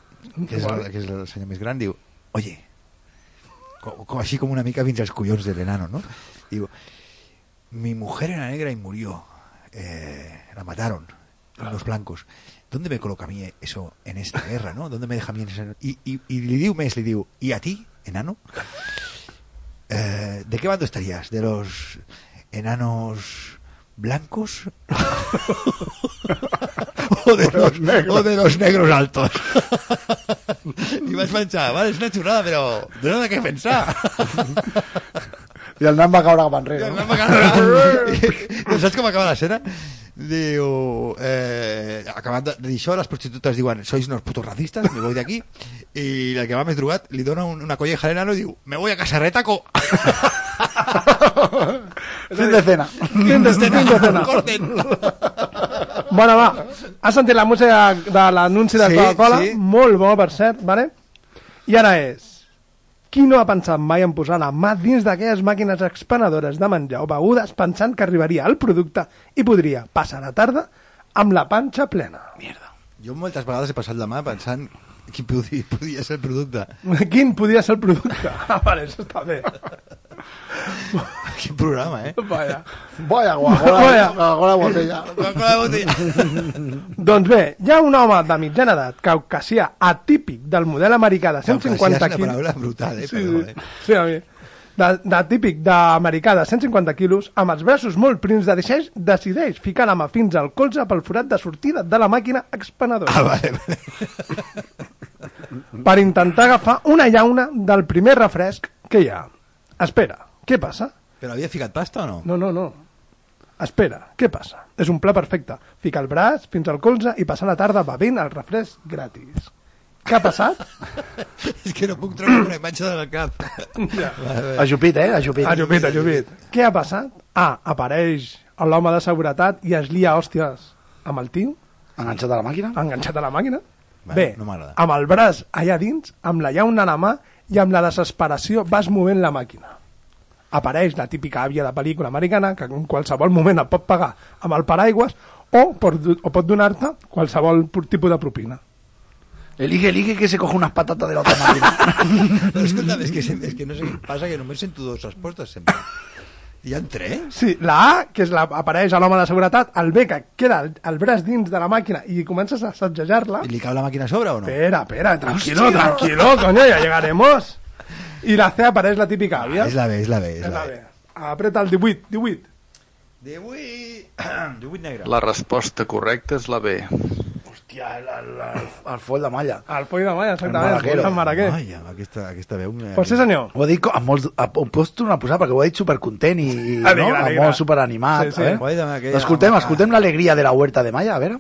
Speaker 6: que és, el, que és el senyor més gran diu oye co, co, així com una mica fins als collons de l'enano no? diu mi mujer era negra y murió eh, la mataron los blancos ¿dónde me coloca a mí eso en esta guerra? ¿no? ¿dónde me deja a mí en esa... y, y, y li diu més li diu ¿y a ti enano? Eh, ¿de qué bando estarías? ¿de los enanos blancos o de los, o de los negros altos. y vas a pensar, vale, es una churrada, pero de nada que pensar.
Speaker 2: I el nan va caure cap enrere.
Speaker 6: No
Speaker 2: no?
Speaker 6: saps com acaba la escena? Diu, eh, acabant de dir això, les prostitutes diuen sois unos putos racistas, me voy de aquí i la que va més drogat li dona un, una colleja a l'enano i diu, me voy a casa retaco
Speaker 2: Fin de cena.
Speaker 6: fin de
Speaker 7: Fin de cena.
Speaker 6: corten
Speaker 7: Bona, va. Has sentit la música de l'anunci de
Speaker 6: Sí,
Speaker 7: Coca-Cola?
Speaker 6: sí.
Speaker 7: Molt bo, per cert, vale? I ara és... Qui no ha pensat mai en posar la mà dins d'aquelles màquines expenedores de menjar o begudes pensant que arribaria al producte i podria passar la tarda amb la panxa plena?
Speaker 6: jo moltes vegades he passat la mà pensant qui podia, podia ser el producte
Speaker 7: Quin podria ser el producte? Ah, vale, això està bé.
Speaker 6: quin programa, eh?
Speaker 7: Vaja.
Speaker 2: Vaya guagola.
Speaker 7: Vaya.
Speaker 2: Guagola botella.
Speaker 6: Coca-Cola de botella.
Speaker 7: Doncs bé, hi ha un home de mitjana edat, caucasià, atípic del model americà de
Speaker 6: Caucasià
Speaker 7: 150
Speaker 6: és una
Speaker 7: quilos...
Speaker 6: paraula brutal, eh?
Speaker 7: Sí,
Speaker 6: Perdó,
Speaker 7: sí,
Speaker 6: eh?
Speaker 7: sí, a mi. De, de típic d'americà de 150 quilos, amb els braços molt prims de 16, decideix ficar la mà fins al colze pel forat de sortida de la màquina expenedora
Speaker 6: Ah, vale, vale.
Speaker 7: per intentar agafar una llauna del primer refresc que hi ha. Espera, què passa?
Speaker 6: Però havia ficat pasta o no?
Speaker 7: No, no, no. Espera, què passa? És un pla perfecte. Ficar el braç fins al colze i passar la tarda bevent el refresc gratis. Què ha passat?
Speaker 6: És que no puc treure una imatge del cap.
Speaker 7: Ja.
Speaker 2: Ajupit, eh? Ajupit.
Speaker 7: Ajupit, ajupit. Què ha passat? Ah, apareix l'home de seguretat i es lia a hòsties amb el tio,
Speaker 2: Enganxat a la màquina.
Speaker 7: enganxat a la màquina.
Speaker 6: Vale,
Speaker 7: Bé,
Speaker 6: no m'agrada.
Speaker 7: amb el braç allà dins, amb la llauna a la mà i amb la desesperació vas movent la màquina. Apareix la típica àvia de pel·lícula americana que en qualsevol moment et pot pagar amb el paraigües o pot, o pot donar-te qualsevol tipus de propina.
Speaker 2: Elige, elige que se coge unas patatas de la otra máquina.
Speaker 6: Però escolta'm, és que, sem- és que no sé què passa, que només sento dues respostes sempre. Hi ha tres?
Speaker 7: Sí, la A, que és la, apareix a l'home de seguretat, el B, que queda el, el braç dins de la màquina i comences a sacsejar-la.
Speaker 6: I li cau la màquina a sobre o no?
Speaker 7: Espera, espera, tranquilo, tranquilo, coño, ya llegaremos. Y la C aparece la típica avia.
Speaker 6: Ah, És la B, és la B. És
Speaker 7: Es
Speaker 6: la
Speaker 7: la
Speaker 6: B.
Speaker 7: B. Apreta el 18, 18.
Speaker 6: 18... 18 negre.
Speaker 10: La resposta correcta és la B.
Speaker 2: Hostia, el, el, el, el fuel de malla.
Speaker 7: Al Poi de Malla,
Speaker 2: El
Speaker 7: exactament.
Speaker 2: maraquero.
Speaker 7: El maraquer.
Speaker 6: Ai, amb aquesta, aquesta veu... Em...
Speaker 7: Pues sí, senyor.
Speaker 2: Ho he dit co- amb molt... a- Ho pots tornar a posar perquè ho he dit supercontent i, i no?
Speaker 7: Alegre,
Speaker 2: Amb
Speaker 7: alegre.
Speaker 2: molt superanimat.
Speaker 7: Sí, sí.
Speaker 2: a veure.
Speaker 6: Ho he dit amb aquella-
Speaker 2: Escoltem,
Speaker 6: amb-
Speaker 2: escoltem l'alegria de la huerta de malla, a veure.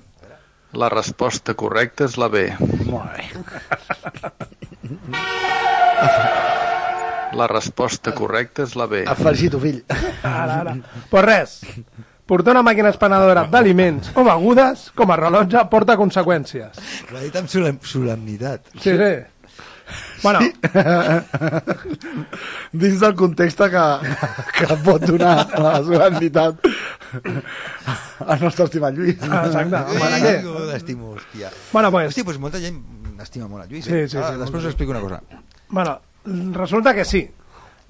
Speaker 10: La resposta correcta és la B.
Speaker 2: Molt bé.
Speaker 10: La resposta correcta és la B.
Speaker 2: Et felicito, fill.
Speaker 7: Ara, ara. Pues res. Portar una màquina espanadora d'aliments o begudes com a rellotge porta conseqüències.
Speaker 6: Ho ha dit amb solem, solemnitat.
Speaker 7: Sí, sí. Bueno,
Speaker 2: Dins del context que, que pot donar la solemnitat al nostre estimat Lluís.
Speaker 7: exacte. El
Speaker 6: Ai,
Speaker 7: maraquer.
Speaker 6: com l'estimo, hòstia.
Speaker 7: Ah, Bueno, pues,
Speaker 6: Hòstia, doncs molta gent estima molt a Lluís.
Speaker 7: Sí,
Speaker 6: eh?
Speaker 7: sí, sí,
Speaker 6: Ara,
Speaker 7: molta
Speaker 6: després us explico una cosa.
Speaker 7: bueno, resulta que sí.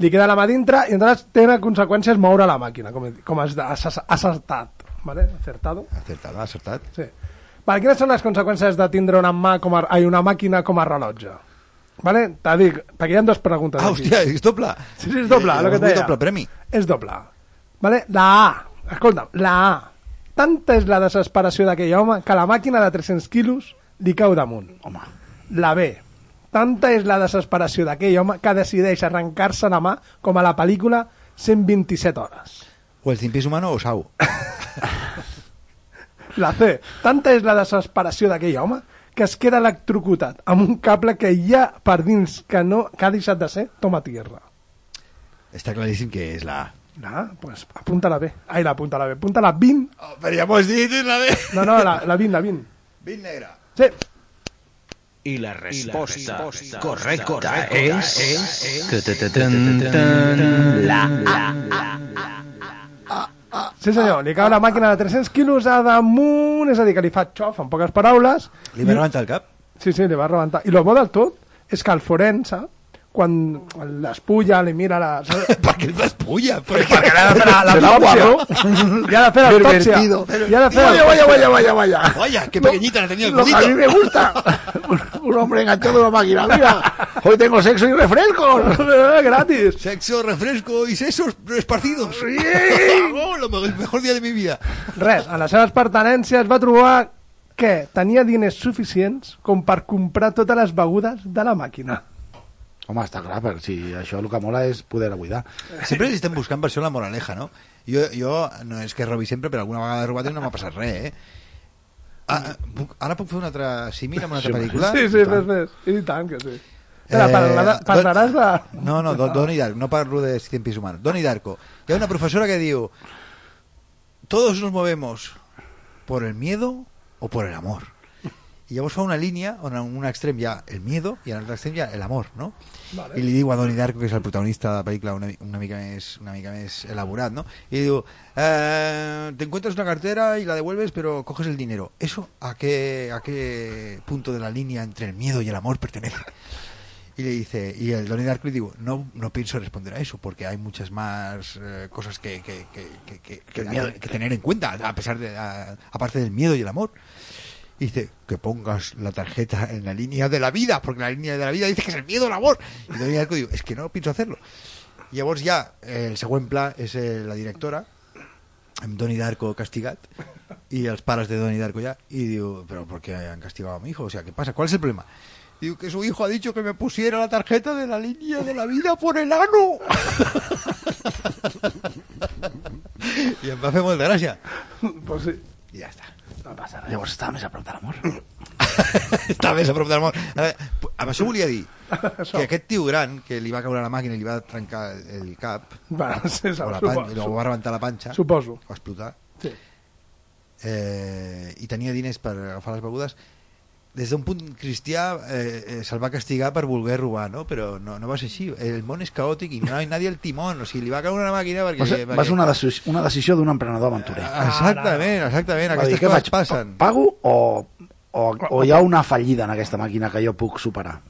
Speaker 7: li queda la mà dintre i entonces té una conseqüència és moure la màquina, com, he dit, com has, has, has acertat, ¿vale? acertado.
Speaker 6: Acertat, no? acertat.
Speaker 7: Sí. Vale, quines són les conseqüències de tindre una, mà com a, ai, una màquina com a rellotge? Vale? Te dic, perquè hi ha dues preguntes.
Speaker 6: Ah, hòstia, és doble.
Speaker 7: Sí, sí, és doble,
Speaker 6: Eh,
Speaker 7: el que
Speaker 6: vull
Speaker 7: t'he
Speaker 6: doble premi.
Speaker 7: És doble. Vale? La A, escolta'm, la A. Tanta és la desesperació d'aquell home que la màquina de 300 quilos li cau damunt. Home. La B. Tanta és la desesperació d'aquell home que decideix arrencar-se la mà com a la pel·lícula 127 hores.
Speaker 6: O el cimpís humano o sau.
Speaker 7: La C. Tanta és la desesperació d'aquell home que es queda electrocutat amb un cable que hi ha per dins que, no, que ha deixat de ser toma tierra.
Speaker 6: Està claríssim que és la A.
Speaker 7: La A, pues apunta la B. Ai, la apunta la B. Apunta la 20.
Speaker 6: Oh, però ja m'ho has dit, és la B.
Speaker 7: No, no, la, la 20, la 20.
Speaker 6: 20 negra.
Speaker 7: Sí.
Speaker 9: I la resposta, correcta,
Speaker 11: correcta
Speaker 9: és...
Speaker 11: és-
Speaker 9: La
Speaker 7: Sí, senyor, li cau la màquina de 300 quilos a damunt, és a dir, que li fa xof, en poques paraules.
Speaker 6: Li va rebentar el cap?
Speaker 7: Sí, sí, li va rebentar. I el bo del tot és que el forense, quan l'espulla, li mira la...
Speaker 6: per què l'espulla?
Speaker 7: Perquè li ha de fer la- l'autòpsia, no? Li ha de fer l'autòpsia.
Speaker 6: Pervertido.
Speaker 7: Li ha de fer
Speaker 2: Vaya, vaya, vaya, vaya,
Speaker 6: vaya. Vaya, qué pequeñita la tenía el
Speaker 2: Lo que a
Speaker 6: codito.
Speaker 2: mí me gusta. Un- Un hombre enganchado a una máquina. Mira, hoy tengo sexo y refrescos.
Speaker 7: Eh, Gratis.
Speaker 6: Sexo, refresco y sesos esparcidos. Oh, lo mejor- el mejor día de mi vida.
Speaker 7: Res, a les seves pertenències va trobar que tenia diners suficients com per comprar totes les begudes de la màquina.
Speaker 2: Home, està clar, però si això el que mola és poder buidar.
Speaker 6: Sempre li estem buscant per això la moraleja, no? Jo, jo no és que robi sempre, però alguna vegada he robat i no m'ha passat res, eh? Ah, ah, puc, ara puc fer una altra símil amb una altra pel·lícula?
Speaker 7: Sí, sí, fes, fes. I tant Eh, que sí. Espera, parla-
Speaker 6: Eh, don-
Speaker 7: parlaràs de...
Speaker 6: No, no, Don, Donnie Darko, no parlo de Cien Pies Humanos. Donnie Darko. Hi ha una professora que diu Todos nos movemos por el miedo o por el amor. I llavors fa una línia on en un extrem hi ha el miedo i en l'altre extrem hi ha el amor, no? Vale. I li diu a Donnie Darko, que és el protagonista de la pel·lícula una, mi- una, mica més, una mica més elaborat, no? I li diu, eh, te encuentras una cartera y la devuelves, pero coges el dinero. ¿Eso a qué, a qué punto de la línea entre el miedo y el amor pertenece? Y le dice, y el Donnie Darko le digo, no, no pienso responder a eso, porque hay muchas más eh, cosas que, que, que, que, que- que-
Speaker 2: miedo-
Speaker 6: que tener en cuenta, a pesar de, a- aparte del miedo y el amor. Y dice, que pongas la tarjeta en la línea de la vida, porque la línea de la vida dice que es el miedo al amor. Y Donnie Darko digo, es que no pienso hacerlo. Y llavors ja, eh, el següent pla és eh, la directora, amb Donnie em, Darko castigat, i els pares de Donnie Darko ja, i diu, però ¿por qué han castigado a mi hijo? O sea, ¿qué pasa? ¿Cuál es el problema? Digo que su hijo ha dicho que me pusiera la tarjeta de la línea de la vida por el ano. I em va fer molta gràcia.
Speaker 7: Pues sí.
Speaker 6: I ja està.
Speaker 7: No passa res.
Speaker 2: Llavors estava més a prop de l'amor.
Speaker 6: Està més a prop del món. A veure, Amb això volia dir que aquest tio gran, que li va caure la màquina i li va trencar el cap,
Speaker 7: Va, sí,
Speaker 6: o la
Speaker 7: supo-
Speaker 6: panxa, o va rebentar la panxa,
Speaker 7: Suposo.
Speaker 6: o explotar,
Speaker 7: Sí.
Speaker 6: eh, i tenia diners per agafar les begudes, des d'un punt cristià eh, eh, se'l va castigar per voler robar, no? però no, no va ser així. El món és caòtic i no hi ha nadie al timón, o sigui, li va caure una màquina perquè... Ah,
Speaker 2: Va ser, va ser una, decisió, una decisió d'un emprenedor aventurer.
Speaker 6: Exactament, exactament,
Speaker 2: Va dir,
Speaker 6: aquestes
Speaker 2: què
Speaker 6: coses
Speaker 2: faig?
Speaker 6: passen.
Speaker 2: Pago o, o, o hi ha una fallida en aquesta màquina que jo puc superar?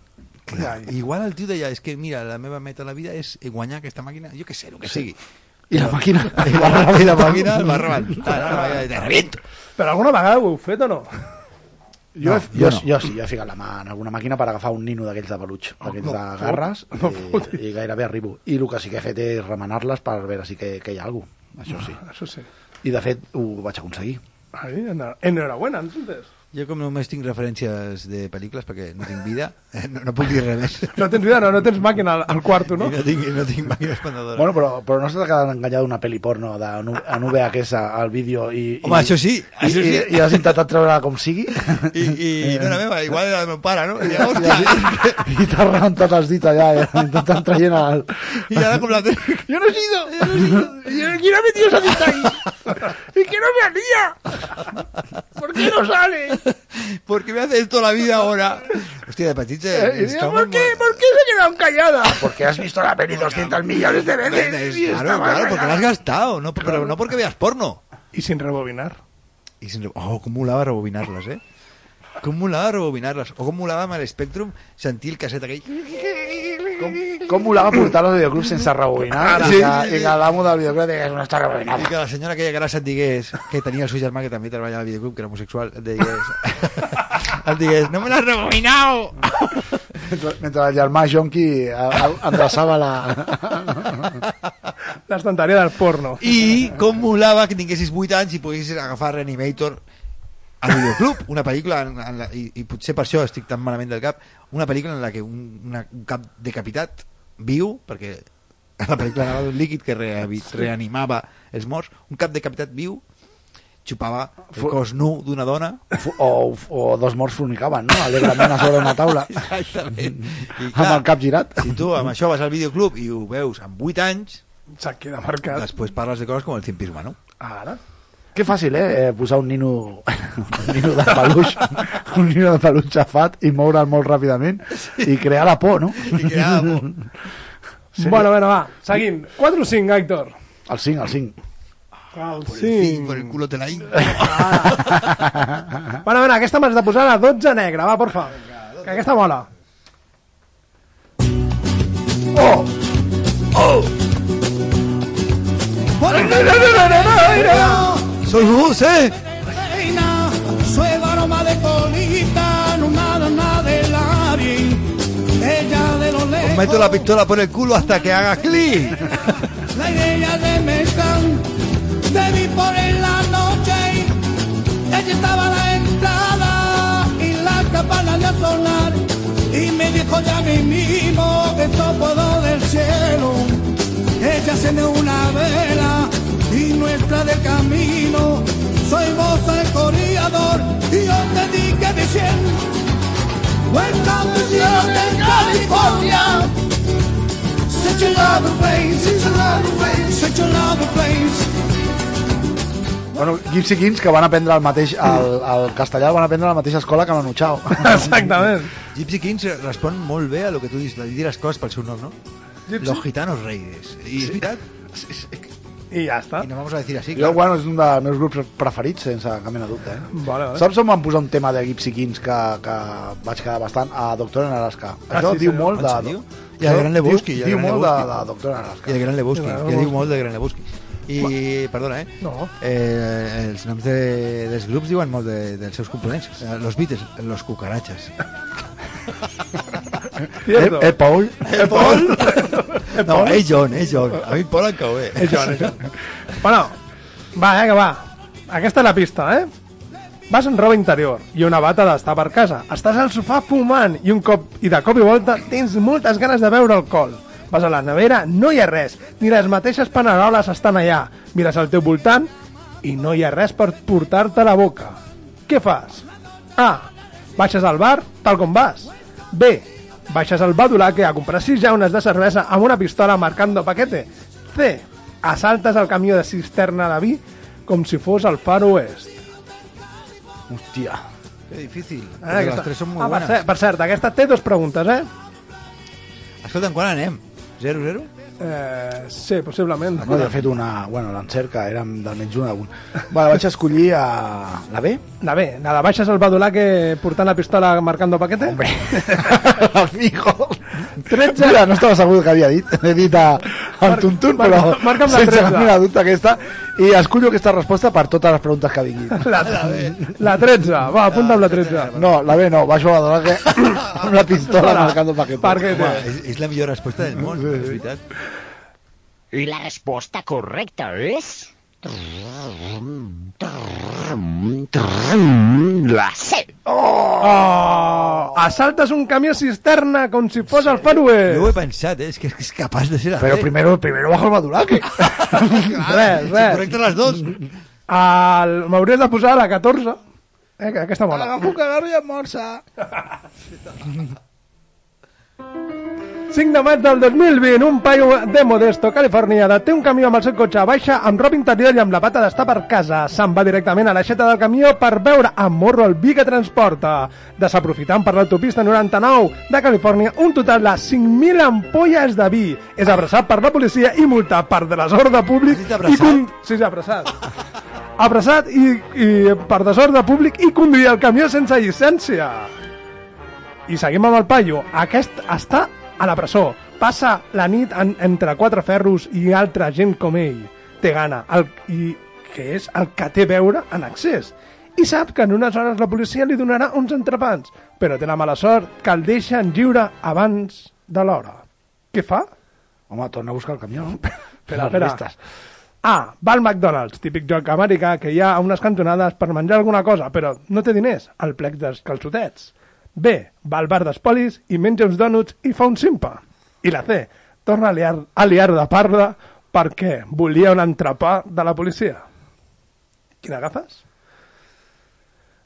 Speaker 6: Clar, igual el tio deia, és que mira, la meva meta a la vida és guanyar aquesta màquina, jo que sé, el que sigui.
Speaker 2: I la màquina...
Speaker 6: I la, i la màquina el va rebentar, no? Va dir, "Te reviento".
Speaker 7: Però alguna vegada ho heu fet o no?
Speaker 2: Jo,
Speaker 6: No,
Speaker 2: he- jo,
Speaker 6: jo no.
Speaker 2: jo, sí, jo he ficat la mà en alguna màquina per agafar un nino d'aquells de peluig, d'aquells
Speaker 7: no
Speaker 2: de
Speaker 7: fot-
Speaker 2: garres,
Speaker 7: no
Speaker 2: i, i gairebé arribo. I el que sí que he fet és remenar-les per veure si que, que hi ha alguna cosa, això sí.
Speaker 7: Això sí.
Speaker 2: I de fet ho vaig aconseguir.
Speaker 7: Ai, ena- enhorabuena, entonces.
Speaker 6: Jo com només tinc referències de pel·lícules perquè no tinc vida, eh, no, no puc dir res més.
Speaker 7: No tens vida, no, no tens màquina al, al quarto, no?
Speaker 6: I no tinc, no tinc màquina espantadora.
Speaker 2: Bueno, però, però no s'ha quedat enganyat d'una pel·li porno de, en VHS al vídeo i, i,
Speaker 6: Home, això sí,
Speaker 2: i,
Speaker 6: això
Speaker 2: i,
Speaker 6: sí.
Speaker 2: i has intentat treure com sigui
Speaker 6: I, i no era meva, igual era del meu pare, no? I, deia, hòstia,
Speaker 2: i t'has rebentat els dits allà eh? intentant traient el...
Speaker 6: i ara com la tele... Jo no he sido, jo no he sido.
Speaker 11: ¿Quién ha metido esa cinta ahí? ¿Y que no me anía? ¿Por qué no sale?
Speaker 7: Eh,
Speaker 6: ¿Por qué me hace esto la vida ahora? Hòstia, de petits...
Speaker 11: Eh,
Speaker 6: Eh,
Speaker 11: y digo, ¿Por qué? ¿Por qué se quedaron calladas?
Speaker 2: Porque has visto la peli 200 millones de veces y
Speaker 6: Claro,
Speaker 2: estaba
Speaker 6: claro, porque lo has gastado, no, però no perquè veas porno.
Speaker 7: I sin rebobinar.
Speaker 6: I sin... Oh, com molava rebobinar-les, eh? Com molava rebobinar-les. O com molava amb l'Spectrum sentir el casset aquell. Com,
Speaker 2: Com volava portar los videoclubs sense rebobinar?
Speaker 6: Sí,
Speaker 2: I, que,
Speaker 6: sí,
Speaker 2: I que l'amo del videoclub digués, no està
Speaker 6: I que
Speaker 2: rebobinat.
Speaker 6: la senyora aquella grassa et digués que tenia el seu germà que també treballava al videoclub, que era homosexual, et digués... et digués, no me l'has rebobinat!
Speaker 2: Mentre, mentre el germà Jonqui eh, eh, endreçava la...
Speaker 7: L'estantaria del porno.
Speaker 6: I com molava que tinguessis 8 anys i poguessis agafar Reanimator al videoclub, una pel·lícula en, en la, i, i potser per això estic tan malament del cap una pel·lícula en la que un, una, un cap decapitat viu, perquè a la pel·lícula anava d'un líquid que reavi, reanimava els morts, un cap decapitat viu xupava el cos nu d'una dona
Speaker 2: o, o dos morts fornicaven no? alegrement a sobre una taula
Speaker 6: Exactament. I,
Speaker 2: amb el cap girat
Speaker 6: si tu amb això vas al videoclub i ho veus amb 8 anys
Speaker 7: se't queda marcat
Speaker 6: després parles de coses com el cimpisme humano
Speaker 7: Ara.
Speaker 2: que fàcil, eh? eh, posar un nino un nino de peluix un nino de peluix xafat i moure'l molt ràpidament i crear la por, no?
Speaker 6: I crear la por.
Speaker 7: Sí. Bueno, bueno, va, seguim. 4 o 5, Héctor.
Speaker 2: El 5, el 5.
Speaker 7: El
Speaker 6: por el, fi, por el culo te la inco.
Speaker 7: Ah. bueno, bueno, aquesta m'has de posar la 12 negra, va, porfa. Que aquesta mola.
Speaker 2: Oh!
Speaker 6: Oh! Soy ¿eh? José.
Speaker 12: reina, sueva aroma de colita, nada de larín, ella de los
Speaker 6: Os
Speaker 12: lejos,
Speaker 6: meto la pistola por el culo hasta que haga clic.
Speaker 12: la idea de Mecán, de mí por en la noche, ella estaba a la entrada y la campana de sonar, y me dijo ya mi mismo que todo del cielo, ella se me una vela y nuestra del camino. Soy vos el corredor y yo te di que me siento. Welcome to the Hotel California. Such a lovely place, such a lovely place, such a lovely place.
Speaker 2: Bueno, Gipsy Kings que van aprendre el mateix el, el castellà el van aprendre a la mateixa escola que Manu Chao
Speaker 7: exactament
Speaker 6: Gypsy Kings respon molt bé a lo que tu dius, dir les coses pel seu nom, no? Los gitanos reyes. I és veritat?
Speaker 7: I ja està.
Speaker 6: I no vamos a decir así.
Speaker 2: jo, bueno, és un dels meus grups preferits sense cap mena de dubte eh?
Speaker 7: Vale, vale.
Speaker 2: Saps on van posar un tema de Gypsy Kings que, que vaig quedar bastant? A Doctor en Alaska.
Speaker 6: Ah,
Speaker 2: Això
Speaker 6: sí,
Speaker 2: diu
Speaker 6: senyor.
Speaker 2: molt
Speaker 6: En
Speaker 2: de...
Speaker 6: sèrio? I el Gran Lebowski. i el
Speaker 2: Diu, diu
Speaker 6: Gran
Speaker 2: molt de,
Speaker 6: Lebowski.
Speaker 2: de Doctor en Alaska. Eh,
Speaker 6: I el Gran Lebowski.
Speaker 2: I el Gran
Speaker 6: Que diu
Speaker 2: Lebowski.
Speaker 6: molt del Gran Lebowski. I, perdona, eh?
Speaker 7: No.
Speaker 6: Eh, els noms de, dels grups diuen molt de, dels seus components. Eh, Los Beatles, los cucarachas.
Speaker 2: Cierto. Eh, eh, Paul?
Speaker 6: Eh, Paul?
Speaker 2: Eh,
Speaker 6: No,
Speaker 2: Paul?
Speaker 6: eh, John, eh, John. A mi Paul em cau bé.
Speaker 7: Eh, John, eh, John. Bueno, va, eh, que va. Aquesta és la pista, eh? Vas en roba interior i una bata d'estar per casa. Estàs al sofà fumant i un cop i de cop i volta tens moltes ganes de beure alcohol. Vas a la nevera, no hi ha res, ni les mateixes paneroles estan allà. Mires al teu voltant i no hi ha res per portar-te a la boca. Què fas? A. Baixes al bar tal com vas. B. Baixes al badulaque a comprar sis jaunes de cervesa amb una pistola marcando paquete. C. Assaltes el camió de cisterna de vi com si fos el Far West.
Speaker 2: Hòstia.
Speaker 6: Que difícil.
Speaker 7: Eh,
Speaker 6: Però les tres són molt
Speaker 7: ah, per,
Speaker 6: bones.
Speaker 7: cert, per cert, aquesta té dues preguntes, eh?
Speaker 6: Escolta'm, quan anem? 0-0?
Speaker 7: eh sí, possiblement.
Speaker 2: No, de fet, una... Bueno, l'encerca, érem d'almenys una d'un. Vale, vaig escollir a... La B?
Speaker 7: La B, la de baixes al badulà que eh, portant la pistola marcando paquete. Hombre,
Speaker 2: amigo.
Speaker 7: 13.
Speaker 2: Mira, no estava segur que havia dit. He dit a, al tuntun,
Speaker 7: marca-
Speaker 2: però
Speaker 7: marca'm la
Speaker 2: sense cap
Speaker 7: 13.
Speaker 2: mena de dubte aquesta. I escullo aquesta resposta per totes les preguntes que vinguin.
Speaker 7: La, la 13, va, apunta amb la 13.
Speaker 2: No, la B no, baixo a la que amb la pistola marcando paquete.
Speaker 1: Paquete.
Speaker 6: Home, és, és la millor resposta del món, és veritat.
Speaker 1: I la resposta correcta és... La C.
Speaker 7: Oh! Asaltes un camió cisterna com si fos el Far West.
Speaker 6: Jo ho he pensat, eh? és que és capaç de ser la
Speaker 2: Però primero, primero bajo el badulaque.
Speaker 7: res, res.
Speaker 6: Correcte les dues.
Speaker 7: El... M'hauries de posar la 14. Eh, que aquesta mola.
Speaker 2: Agafo un cagarro i em morsa.
Speaker 7: 5 de maig del 2020, un paio de Modesto, Califòrnia, deté un camió amb el seu cotxe, baixa amb roba interior i amb la pata d'estar per casa. Se'n va directament a l'aixeta del camió per veure amb morro el vi que transporta. Desaprofitant per l'autopista 99 de Califòrnia, un total de 5.000 ampolles de vi. És abraçat per la policia i multat per desordre públic i... Con... Sí, sí, abraçat. abraçat i, i per desordre públic i conduir el camió sense llicència. I seguim amb el paio. Aquest està a la presó. passa la nit en, entre quatre ferros i altra gent com ell té gana, el, i, que és el que té a veure en accés. I sap que en unes hores la policia li donarà uns entrepans, però té la mala sort que el deixen lliure abans de l'hora. Què fa?
Speaker 2: Home, torna a buscar el camió, no?
Speaker 7: Espera, espera. A. Ah, Va al McDonald's, típic joc americà que hi ha a unes cantonades per menjar alguna cosa, però no té diners, al plec dels calçotets. B. Va al bar d'espolis i menja uns dònuts i fa un simpa. I la C. Torna a liar, a liar de parda perquè volia un entrepà de la policia. Quina agafes?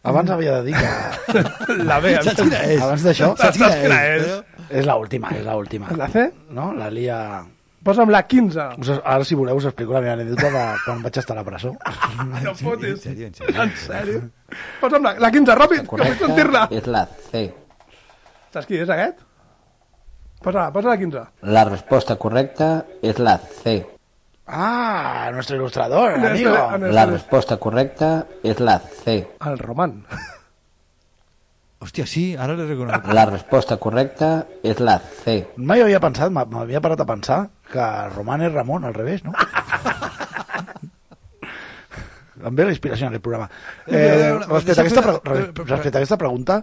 Speaker 2: Abans havia de dir que...
Speaker 7: La B, em
Speaker 2: Saps
Speaker 7: sembla.
Speaker 2: quina és? Abans d'això...
Speaker 7: Saps quina Saps quina és?
Speaker 2: És l'última, és l'última.
Speaker 7: La C?
Speaker 2: No, la Lia...
Speaker 7: Posa'm la 15.
Speaker 2: Us, ara, si voleu, us explico la meva anècdota de quan vaig estar a la presó.
Speaker 7: No fotis. En sèrio, en sèrio. Posa'm la, la 15, ràpid, que vull sentir-la.
Speaker 13: és la C.
Speaker 7: Saps qui és aquest? Posa, posa la 15.
Speaker 13: La resposta correcta és la C.
Speaker 2: Ah, nuestro ilustrador,
Speaker 7: Nuestro-
Speaker 2: amigo.
Speaker 13: La resposta correcta és la C.
Speaker 7: El Roman.
Speaker 6: Hòstia, sí, ara l'he reconegut.
Speaker 13: La resposta correcta és la C.
Speaker 2: Mai ho havia pensat, m'ha- m'havia parat a pensar que Roman és Ramon, al revés, no? em ve la inspiració en el programa. Eh, respecte, a aquesta, pre- re- respecte a aquesta pregunta,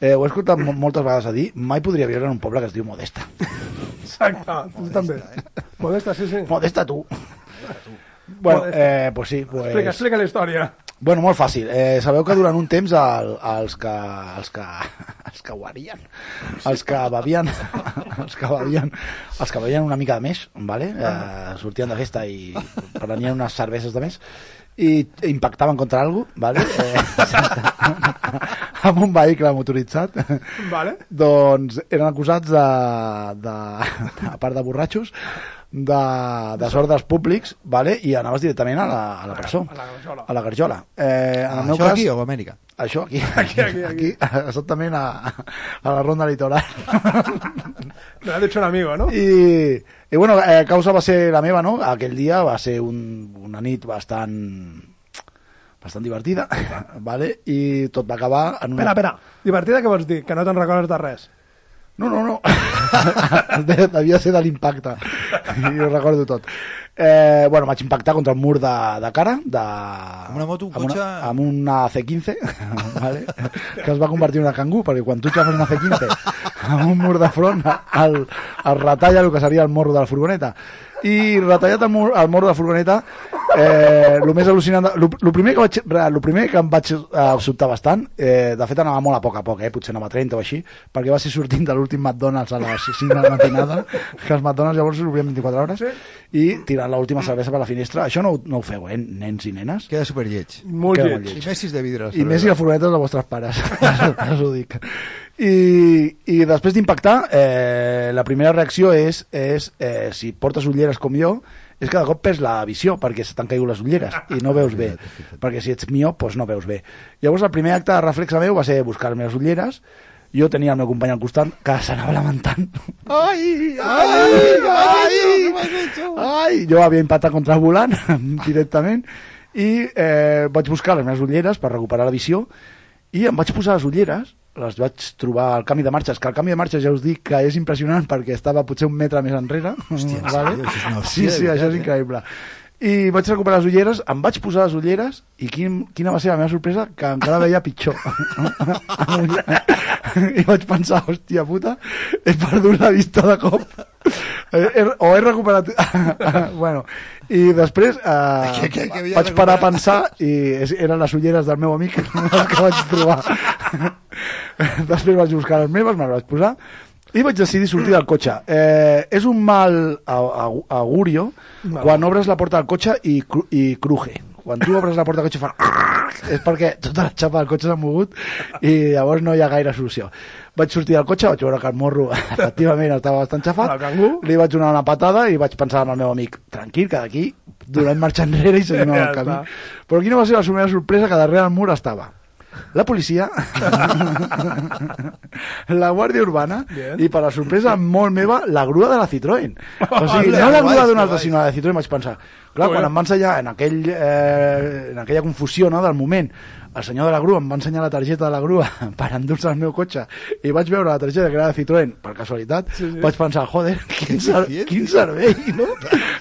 Speaker 2: eh, ho he escoltat mo- moltes vegades a dir, mai podria viure en un poble que es diu Modesta.
Speaker 7: Exacte, tu també. Modesta, sí, sí.
Speaker 2: Modesta tu. Bueno,
Speaker 7: Modesta.
Speaker 2: eh, pues sí, pues...
Speaker 7: Explica, explica la història.
Speaker 2: Bueno, molt fàcil. Eh, sabeu que durant un temps el, els que... Els que... Els que guarien, els que bevien, els que bevien, els que bevien una mica de més, vale? eh, sortien de festa i prenien unes cerveses de més i impactaven contra algú, vale? eh, amb un vehicle motoritzat
Speaker 7: Vale.
Speaker 2: doncs eren acusats de, de, de a part de borratxos de desordres públics vale? i anaves directament a la, a la presó a la garjola, a la garjola. Eh, en el meu
Speaker 6: Això
Speaker 2: cas,
Speaker 6: aquí o a Amèrica?
Speaker 2: això aquí, aquí, aquí, aquí. exactament a, a la ronda litoral
Speaker 7: Me l'ha dicho un amigo, no?
Speaker 2: i, i bueno, eh, causa va ser la meva, no? Aquell dia va ser un, una nit bastant bastant divertida, vale? i tot va acabar en una...
Speaker 7: Espera, espera. Divertida què vols dir? Que no te'n recordes de res.
Speaker 2: No, no, no. De- devia ser de l'impacte i ho recordo tot eh, bueno, vaig impactar contra el mur de, de cara de, amb una moto, un amb
Speaker 6: cotxe?
Speaker 2: una, amb una C15 vale? que es va convertir en una cangú perquè quan tu xafes una C15 amb un mur de front el, el retalla el que seria el morro de la furgoneta i retallat el, mur, el morro de la furgoneta eh, el més al·lucinant de- lo, lo primer que vaig, re- lo primer que em vaig eh, sobtar bastant eh, de fet anava molt a poc a poc, eh, potser anava a 30 o així perquè va ser sortint de l'últim McDonald's a les 5 de la matinada que els McDonald's llavors s'obrien 24 hores i tirant l'última cervesa per la finestra això no, ho- no ho feu, eh, nens i nenes
Speaker 6: queda superlleig
Speaker 2: molt
Speaker 6: Queda
Speaker 2: lleig.
Speaker 6: I Messi és de vidre.
Speaker 2: i més si la furgoneta és dels vostres pares, us ho dic. I, i després d'impactar, eh, la primera reacció és, és eh, si portes ulleres com jo, és que de cop perds la visió perquè se t'han caigut les ulleres i no veus bé, perquè si ets miop doncs no veus bé. Llavors el primer acte de reflex meu va ser buscar-me les ulleres, jo tenia el meu company al costat que s'anava lamentant
Speaker 12: ¡Ay!
Speaker 2: ¡Ay!
Speaker 12: ¡Ay!
Speaker 2: Ai, jo havia impactat contra el volant directament i eh, vaig buscar les meves ulleres per recuperar la visió i em vaig posar les ulleres les vaig trobar al canvi de marxes que el canvi de marxes ja us dic que és impressionant perquè estava potser un metre més enrere Hòstia, vale?
Speaker 6: sèrio? Això és
Speaker 2: sí,
Speaker 6: una hòstia,
Speaker 2: sí,
Speaker 6: de eh?
Speaker 2: això és increïble i vaig recuperar les ulleres, em vaig posar les ulleres i quin, quina va ser la meva sorpresa que encara veia pitjor i vaig pensar, hòstia puta he perdut la vista de cop Eh, he, o he recuperat bueno, i després eh,
Speaker 6: Que- que- que havia
Speaker 2: vaig parar a
Speaker 6: recuperat.
Speaker 2: pensar i és, eren les ulleres del meu amic les que vaig trobar després vaig buscar les meves, me les vaig posar i vaig decidir sortir del cotxe eh, és un mal a- a- augurio
Speaker 7: Vale.
Speaker 2: quan obres la porta del cotxe i, cru, i cruje quan tu obres la porta del cotxe i fa és perquè tota la xapa del cotxe s'ha mogut i llavors no hi ha gaire solució vaig sortir del cotxe, vaig veure que el morro efectivament estava bastant xafat li vaig donar una patada i vaig pensar en el meu amic tranquil, que d'aquí donem marxa enrere i seguim amb
Speaker 7: Ja
Speaker 2: el camí
Speaker 7: està.
Speaker 2: però quina va ser la meva sorpresa que darrere el mur estava la policia, la Guàrdia Urbana
Speaker 7: Bien.
Speaker 2: i, per a sorpresa molt meva, la grua de la Citroën. O sigui,
Speaker 7: Ole,
Speaker 2: no la grua
Speaker 7: guais,
Speaker 2: d'un altre,
Speaker 7: guais.
Speaker 2: sinó la de Citroën, vaig pensar. Clar, quan
Speaker 7: Joder.
Speaker 2: em va ensenyar en, aquell, eh, en aquella confusió no, del moment, el senyor de la grua em va ensenyar la targeta de la grua per endur-se el meu cotxe i vaig veure la targeta que era de Citroën, per casualitat, sí, sí. vaig pensar, joder, quin, ser quin servei, no?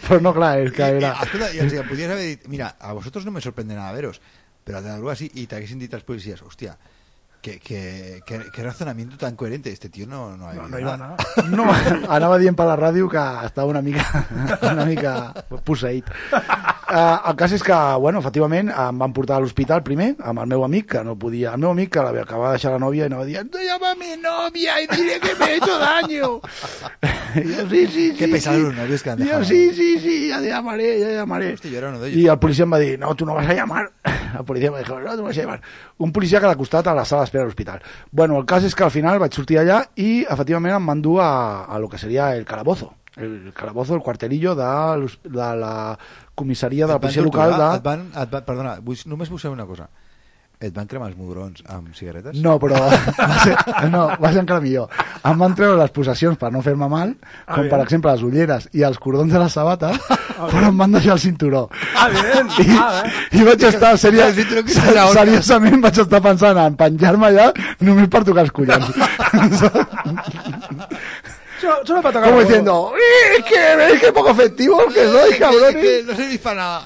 Speaker 2: Però no, clar, és que era...
Speaker 6: Eh, Escolta, i els hi podries haver dit, mira, a vosotros no me sorprende nada veros, pero al de la grúa sí, y t'haguessin dit als policies, hòstia, que, que, que, que razonamiento tan coherente, este tío no, no ha no,
Speaker 2: iba No, anava dient per la ràdio que estava una mica, una mica posseït. Uh, el cas és que, bueno, efectivament, em van portar a l'hospital primer, amb el meu amic, que no podia... El meu amic, que l'havia acabat de deixar la nòvia, i anava dient...
Speaker 12: Te llama mi novia y dile que me he hecho daño.
Speaker 2: I jo, sí, sí, sí,
Speaker 6: Qué pesados
Speaker 2: sí.
Speaker 6: los novios que han
Speaker 2: I jo,
Speaker 6: dejado.
Speaker 2: sí, sí, sí, ya te llamaré, ya te llamaré.
Speaker 6: Hòstia, jo era uno de ellos.
Speaker 2: Y el policía me dijo, no, tú no vas a llamar. El policía me dijo, no, tú no vas a llamar. Un policía que l'ha costat a la sala d'espera de l'hospital. Bueno, el cas és que al final vaig sortir allà i efectivament em van dur a, a lo que seria el calabozo. El calabozo, el cuartelillo de, l'hos- de la comissaria de la policia local de...
Speaker 6: Et van, et van, perdona, vull, només vull saber una cosa. Et van cremar els mugrons amb cigarretes?
Speaker 2: No, però va ser, no, va ser encara millor. Em van treure les possessions per no fer-me mal,
Speaker 6: Ah,
Speaker 2: com
Speaker 6: bien.
Speaker 2: per exemple les ulleres i els cordons de les sabates, però em van deixar el cinturó.
Speaker 7: Ah, bien.
Speaker 2: I,
Speaker 7: Ah,
Speaker 2: i vaig estar seriós,
Speaker 7: El cinturó que
Speaker 2: se-
Speaker 7: serà on?
Speaker 2: seriosament vaig estar pensant en penjar-me allà només per tocar els collons.
Speaker 7: Solo, solo para tocar
Speaker 2: Como
Speaker 7: el huevo.
Speaker 2: diciendo, "Eh, que veis que poco efectivo que soy, cabrón.
Speaker 6: no servís para nada.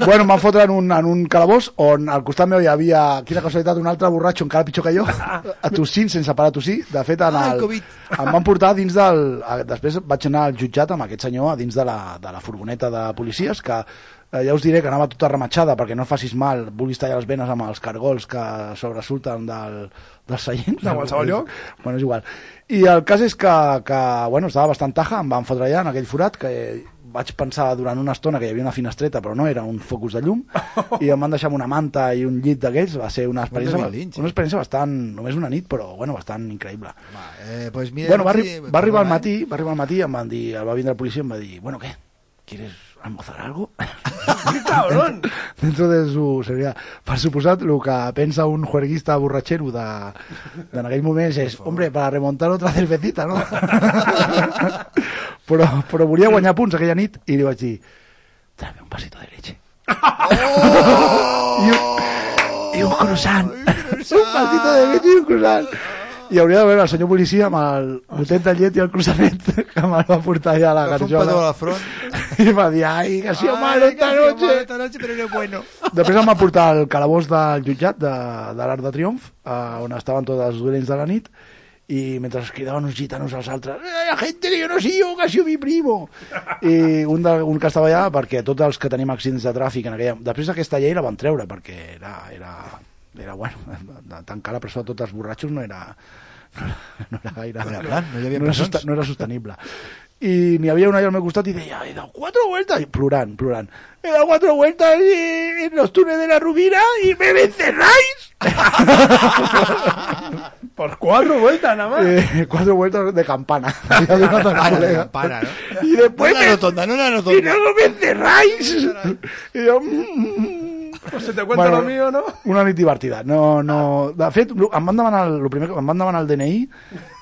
Speaker 2: Bueno, em van fotre en un, en un calabós on al costat meu hi havia, quina casualitat, un altre borratxo encara pitjor que jo, a tossint sense parar a tossir. De fet, en
Speaker 6: Ah, el
Speaker 2: el,
Speaker 6: Covid.
Speaker 2: em van portar dins del... A, després vaig anar al jutjat amb aquest senyor a dins de la, de la furgoneta de policies que eh, ja us diré que anava tota rematxada perquè no facis mal, vulguis tallar les venes amb els cargols que sobresurten del, dels seients.
Speaker 7: De qualsevol lloc.
Speaker 2: Bueno, és igual. I el cas és que, que bueno, estava bastant taja, em van fotre allà en aquell forat que vaig pensar durant una estona que hi havia una finestreta, però no, era un focus de llum, i em van deixar amb una manta i un llit d'aquells, va ser una experiència,
Speaker 6: David Lynch,
Speaker 2: una experiència bastant, només una nit, però bueno, bastant increïble.
Speaker 6: Eh, pues mira,
Speaker 2: bueno, va, arri
Speaker 6: sí,
Speaker 2: va arribar al
Speaker 6: perdona,
Speaker 2: matí, va arribar al matí, em van dir, va vindre el policia i em va dir, bueno, què? ¿Quieres almorzar algo? ¡Qué
Speaker 7: cabrón!
Speaker 2: Dentro de su seguridad. Per suposat, el que pensa un juerguista borratxero de, de en aquell moment és, hombre, para remontar otra cervecita, no? però, però volia guanyar punts aquella nit i li vaig dir, tráeme un pasito de leche.
Speaker 6: ¡Oh!
Speaker 2: I un, i un croissant. un pasito de leche i un croissant. I hauria de veure el senyor policia amb el botet de llet i el crossanet que me'l va portar allà a la
Speaker 6: Va fer un
Speaker 2: garjola.
Speaker 6: petó a la front.
Speaker 2: I va dir, ai, que ha sido malo esta
Speaker 6: que ha sido
Speaker 2: noche.
Speaker 6: malo esta noche, pero no es bueno.
Speaker 2: Després em va portar al calabós del jutjat de, de l'Arc de Triomf, eh, on estaven tots els dolents de la nit, i mentre es cridaven uns gitanos als altres, "Eh, la gente que yo no sé yo, que ha sido mi primo. I un, de, un que estava allà, perquè tots els que tenim accidents de tràfic en aquella... Després aquesta llei la van treure, perquè era, era, era bueno, tancar la presó a tots els borratxos no era, no era, no era gaire...
Speaker 6: No era plan, no hi havia
Speaker 2: no era,
Speaker 6: presons.
Speaker 2: sosta, no era sostenible. I n'hi havia una allà al meu costat i deia, he dado cuatro vueltas, i plorant, plorant. He dado cuatro vueltas eh, en los túneles de la Rubina y me vencerráis.
Speaker 7: Por cuatro vueltas nada más.
Speaker 2: Eh, cuatro vueltas de campana.
Speaker 7: Campana,
Speaker 2: Colega.
Speaker 7: campana,
Speaker 2: Y después...
Speaker 7: No era
Speaker 2: me-
Speaker 7: rotonda, no era
Speaker 2: Y
Speaker 7: rotonda.
Speaker 2: luego me encerráis. I jo... mm,
Speaker 7: Pues se te cuenta
Speaker 2: Bueno,
Speaker 7: lo mío, ¿no?
Speaker 2: Una nit divertida. No, no... De fet, em van demanar el, lo primer, que- em van demanar el DNI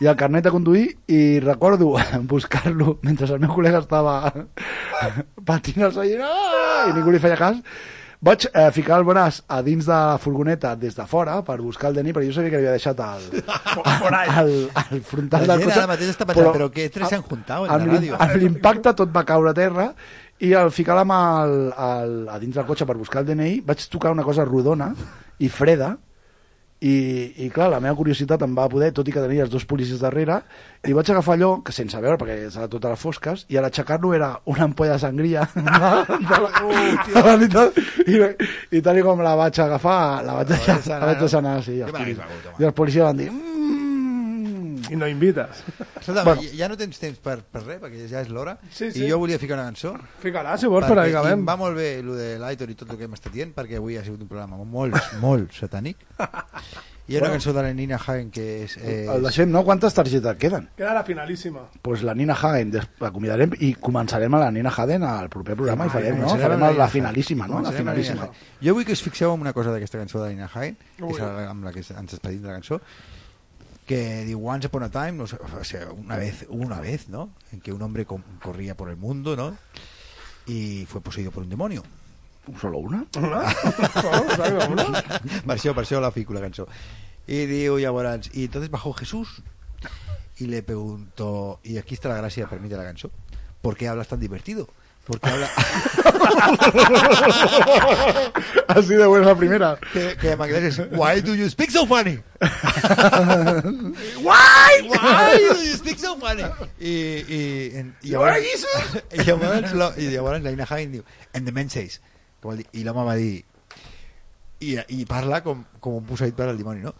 Speaker 2: i el carnet de conduir i recordo buscar-lo mentre el meu col·lega estava patint el seient "Ah!" i ningú li feia cas. Vaig eh, ficar el braç a dins de la furgoneta des de fora per buscar el DNI, però jo sabia que l'havia deixat al, al, al frontal
Speaker 6: La
Speaker 2: del
Speaker 6: gent
Speaker 2: cotxe.
Speaker 6: ara mateix està pensant, però què tres s'han juntat en la
Speaker 2: amb l'im-
Speaker 6: ràdio?
Speaker 2: Amb l'impacte tot va caure a terra i al ficar la mà al, al, a dins del cotxe per buscar el DNI vaig tocar una cosa rodona i freda i, i clar, la meva curiositat em va poder, tot i que tenia els dos policies darrere, i vaig agafar allò, que sense veure, perquè estava tot a les fosques, i a l'aixecar-lo era una ampolla de sangria de la, de la,
Speaker 6: Oh,
Speaker 2: de la nit, i, i tal i com la vaig "Mm, agafar, la vaig deixar, la vaig deixar anar, sí. I els policies van dir,
Speaker 7: i no invites.
Speaker 6: Escolta, bueno. ja no tens temps per, per res, perquè ja és l'hora,
Speaker 7: Sí, sí.
Speaker 6: i jo volia ficar una cançó.
Speaker 7: Fica-la, si vols, però
Speaker 6: perquè
Speaker 7: hi acabem.
Speaker 6: em Va molt bé el de l'Aitor i tot el que hem estat dient, perquè avui ha sigut un programa molt, molt satànic. Hi ha
Speaker 2: Bueno.
Speaker 6: una cançó de la Nina Hagen que és... Eh,
Speaker 2: El deixem, no? Quantes targetes queden?
Speaker 7: Queda la finalíssima.
Speaker 2: pues la Nina Hagen, des- acomiadarem i començarem a la Nina Hagen al proper programa i farem, no?
Speaker 6: Començarem
Speaker 2: Farem
Speaker 6: amb
Speaker 2: la
Speaker 6: Nina
Speaker 2: finalíssima, no? La
Speaker 6: Començarem amb
Speaker 2: finalíssima.
Speaker 6: Nina Hagen. Jo vull que us fixeu en una cosa d'aquesta cançó de Nina Hagen, que
Speaker 2: Ui.
Speaker 6: és la, amb la que ens despedim de la cançó, que diu Once Upon a Time, no sé, o sea, una vez, una vez, ¿no? En que un hombre com- corría por el mundo, ¿no? Y fue poseído por un demonio.
Speaker 2: ¿Solo una?
Speaker 6: per això, per això la fico, la cançó. I diu llavors, y entonces bajó Jesús y le preguntó, y aquí está la gracia per mi de la cançó, ¿por qué hablas tan divertido? Porque habla...
Speaker 2: Así de buena la primera.
Speaker 6: Que, que en anglès és Why do you speak so funny?
Speaker 12: Why?
Speaker 6: Why do you speak so funny? I, i, en- i
Speaker 12: Why is
Speaker 6: llavors,
Speaker 12: it?
Speaker 6: i llavors, lo, i llavors la Ina Hagen diu And the men says que vol dir, I l'home va dir i, i parla com, com un posseït per al dimoni, no?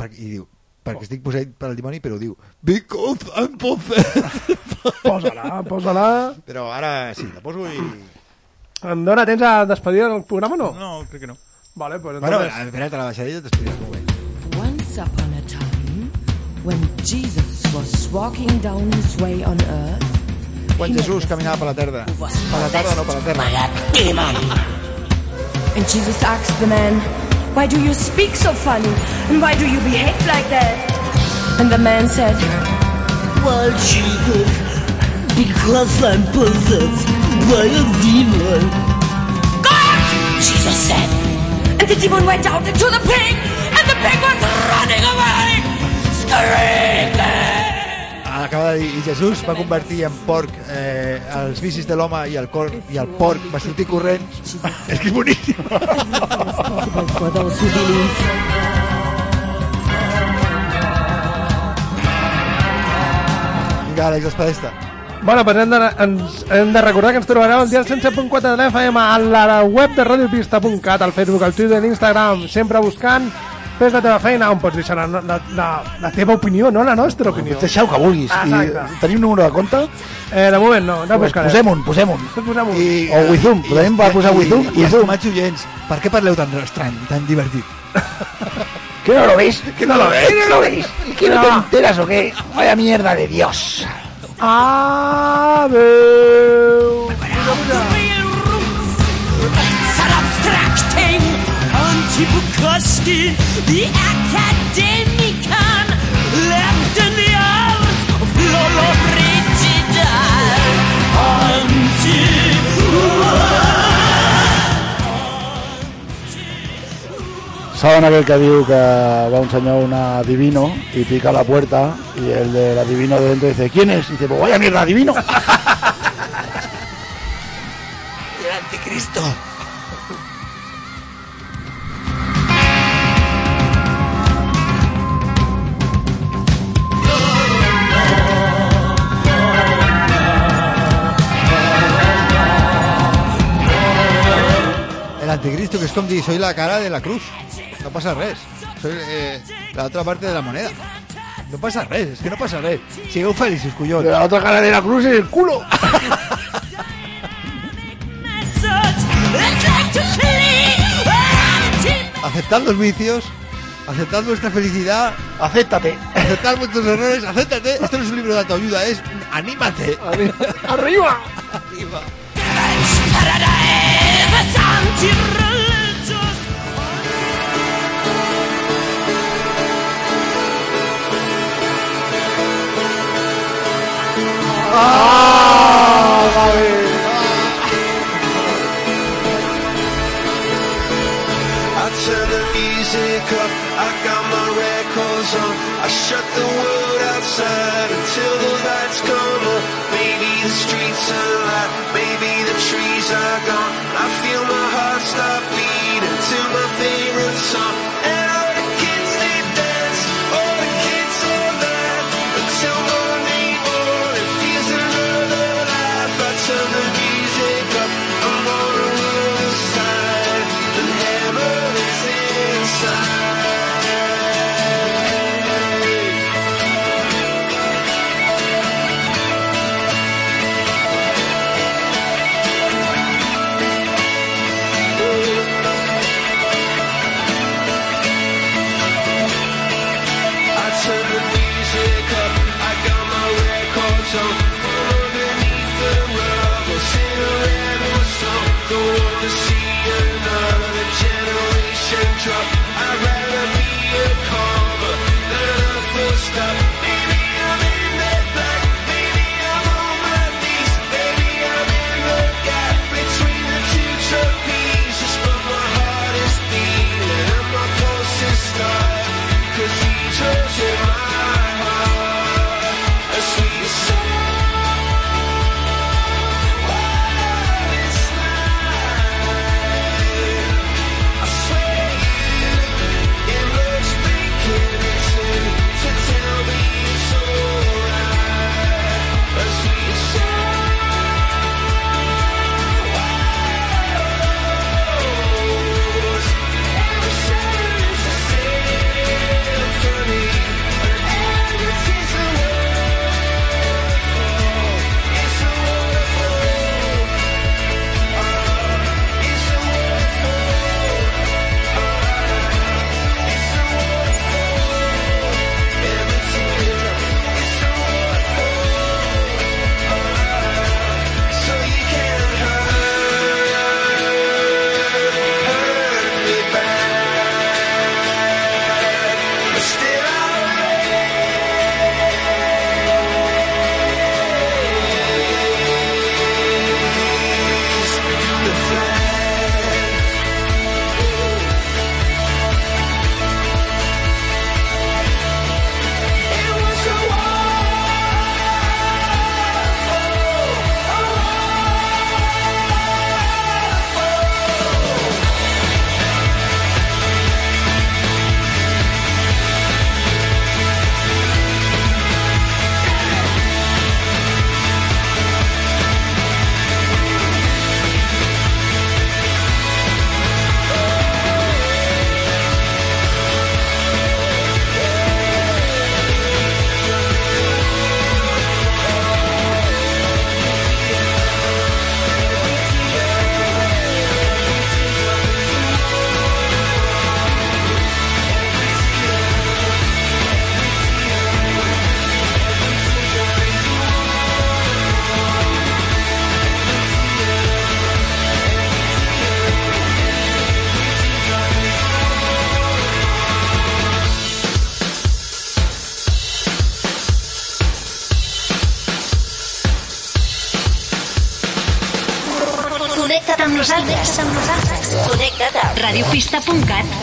Speaker 6: Per, I diu perquè estic posseït per al dimoni, però diu Because I'm possessed.
Speaker 7: Posa-la, posa-la.
Speaker 6: Però ara sí, la poso i...
Speaker 7: Em dóna temps a despedir el programa o no?
Speaker 8: No, crec que no.
Speaker 7: Vale, pues
Speaker 6: Bueno,
Speaker 7: entonces...
Speaker 6: espera't, la baixaré i ja t'explicaré com ho veig.
Speaker 14: Once upon a time, when Jesus was walking down his way on earth,
Speaker 6: Quan Jesús caminava per la terra. Per la terra, no per la terra.
Speaker 14: and Jesus asked the man, Why do you speak so funny? And why do you behave like that? And the man said, Well, Jesus, because I'm possessed by a demon. God! Jesus said. And the demon went out into the pig, and the pig was running away, screaming.
Speaker 6: Acaba de dir, i Jesús va convertir en porc eh, els vicis de l'home i el cor i el porc va sortir corrent. és que és boníssim.
Speaker 14: for those who believe.
Speaker 6: Vinga, Àlex, espadesta.
Speaker 7: Bueno, pues hem de, ens, hem de recordar que ens trobareu el dia al 107.4 de l'FM a la web de radiopista.cat, al Facebook, al Twitter, a l'Instagram, sempre buscant Fes la teva feina, on pots deixar la, la, la, la teva opinió, no la nostra opinió.
Speaker 2: Pots deixar el que vulguis. I
Speaker 7: tenim un número de compte? Eh, de moment no, no
Speaker 2: Pues
Speaker 7: buscaré.
Speaker 2: posem un, posem un.
Speaker 7: Posem un.
Speaker 6: I,
Speaker 2: O Wizum, podem
Speaker 6: i-
Speaker 2: posar
Speaker 6: i-
Speaker 2: Wizum,
Speaker 6: I els
Speaker 2: Wizum.
Speaker 6: tomats oients, per què parleu tan estrany, tan divertit?
Speaker 2: ¿Qué no lo veis?
Speaker 6: ¿Que no lo ves?
Speaker 2: ¿Que no lo veis? ¿Que no, te enteras o qué? Vaya mierda de Dios.
Speaker 7: Adeu.
Speaker 12: are abstracting onto Bukowski, the academician left in the arms of Lolo Brigida.
Speaker 2: Saben aquel que diu que va un señor a un adivino y pica la puerta y el del adivino de dentro dice, ¿quién es? Y dice, pues vaya mierda adivino.
Speaker 12: El anticristo.
Speaker 6: El anticristo, que és com dir, soy la cara de la cruz. No passa res. Soy eh, la otra parte de la moneda. No passa res, és que no passa res. Sigueu feliços, collons.
Speaker 2: La otra cara de la cruz es el culo.
Speaker 6: Aceptad los vicios, aceptad vuestra felicidad.
Speaker 2: Acéptate.
Speaker 6: Aceptad vuestros errores, acéptate. Esto no es un libro de autoayuda, es un anímate.
Speaker 12: Arriba!
Speaker 6: Arriba.
Speaker 12: Paradise anti-religious.
Speaker 15: I turn the music up, I got my records on. I shut the world outside until the lights come on. Maybe the streets are light, maybe the trees are gone. I feel my heart stop beating to my favorite song. And all the kids they dance, all the kids they laugh. Until Monday morning feels another life. I turn the music up, I'm on a roll inside. The hammer is inside.
Speaker 16: Connecta't amb nosaltres. Connecta't amb nosaltres. Connecta't a radiopista.cat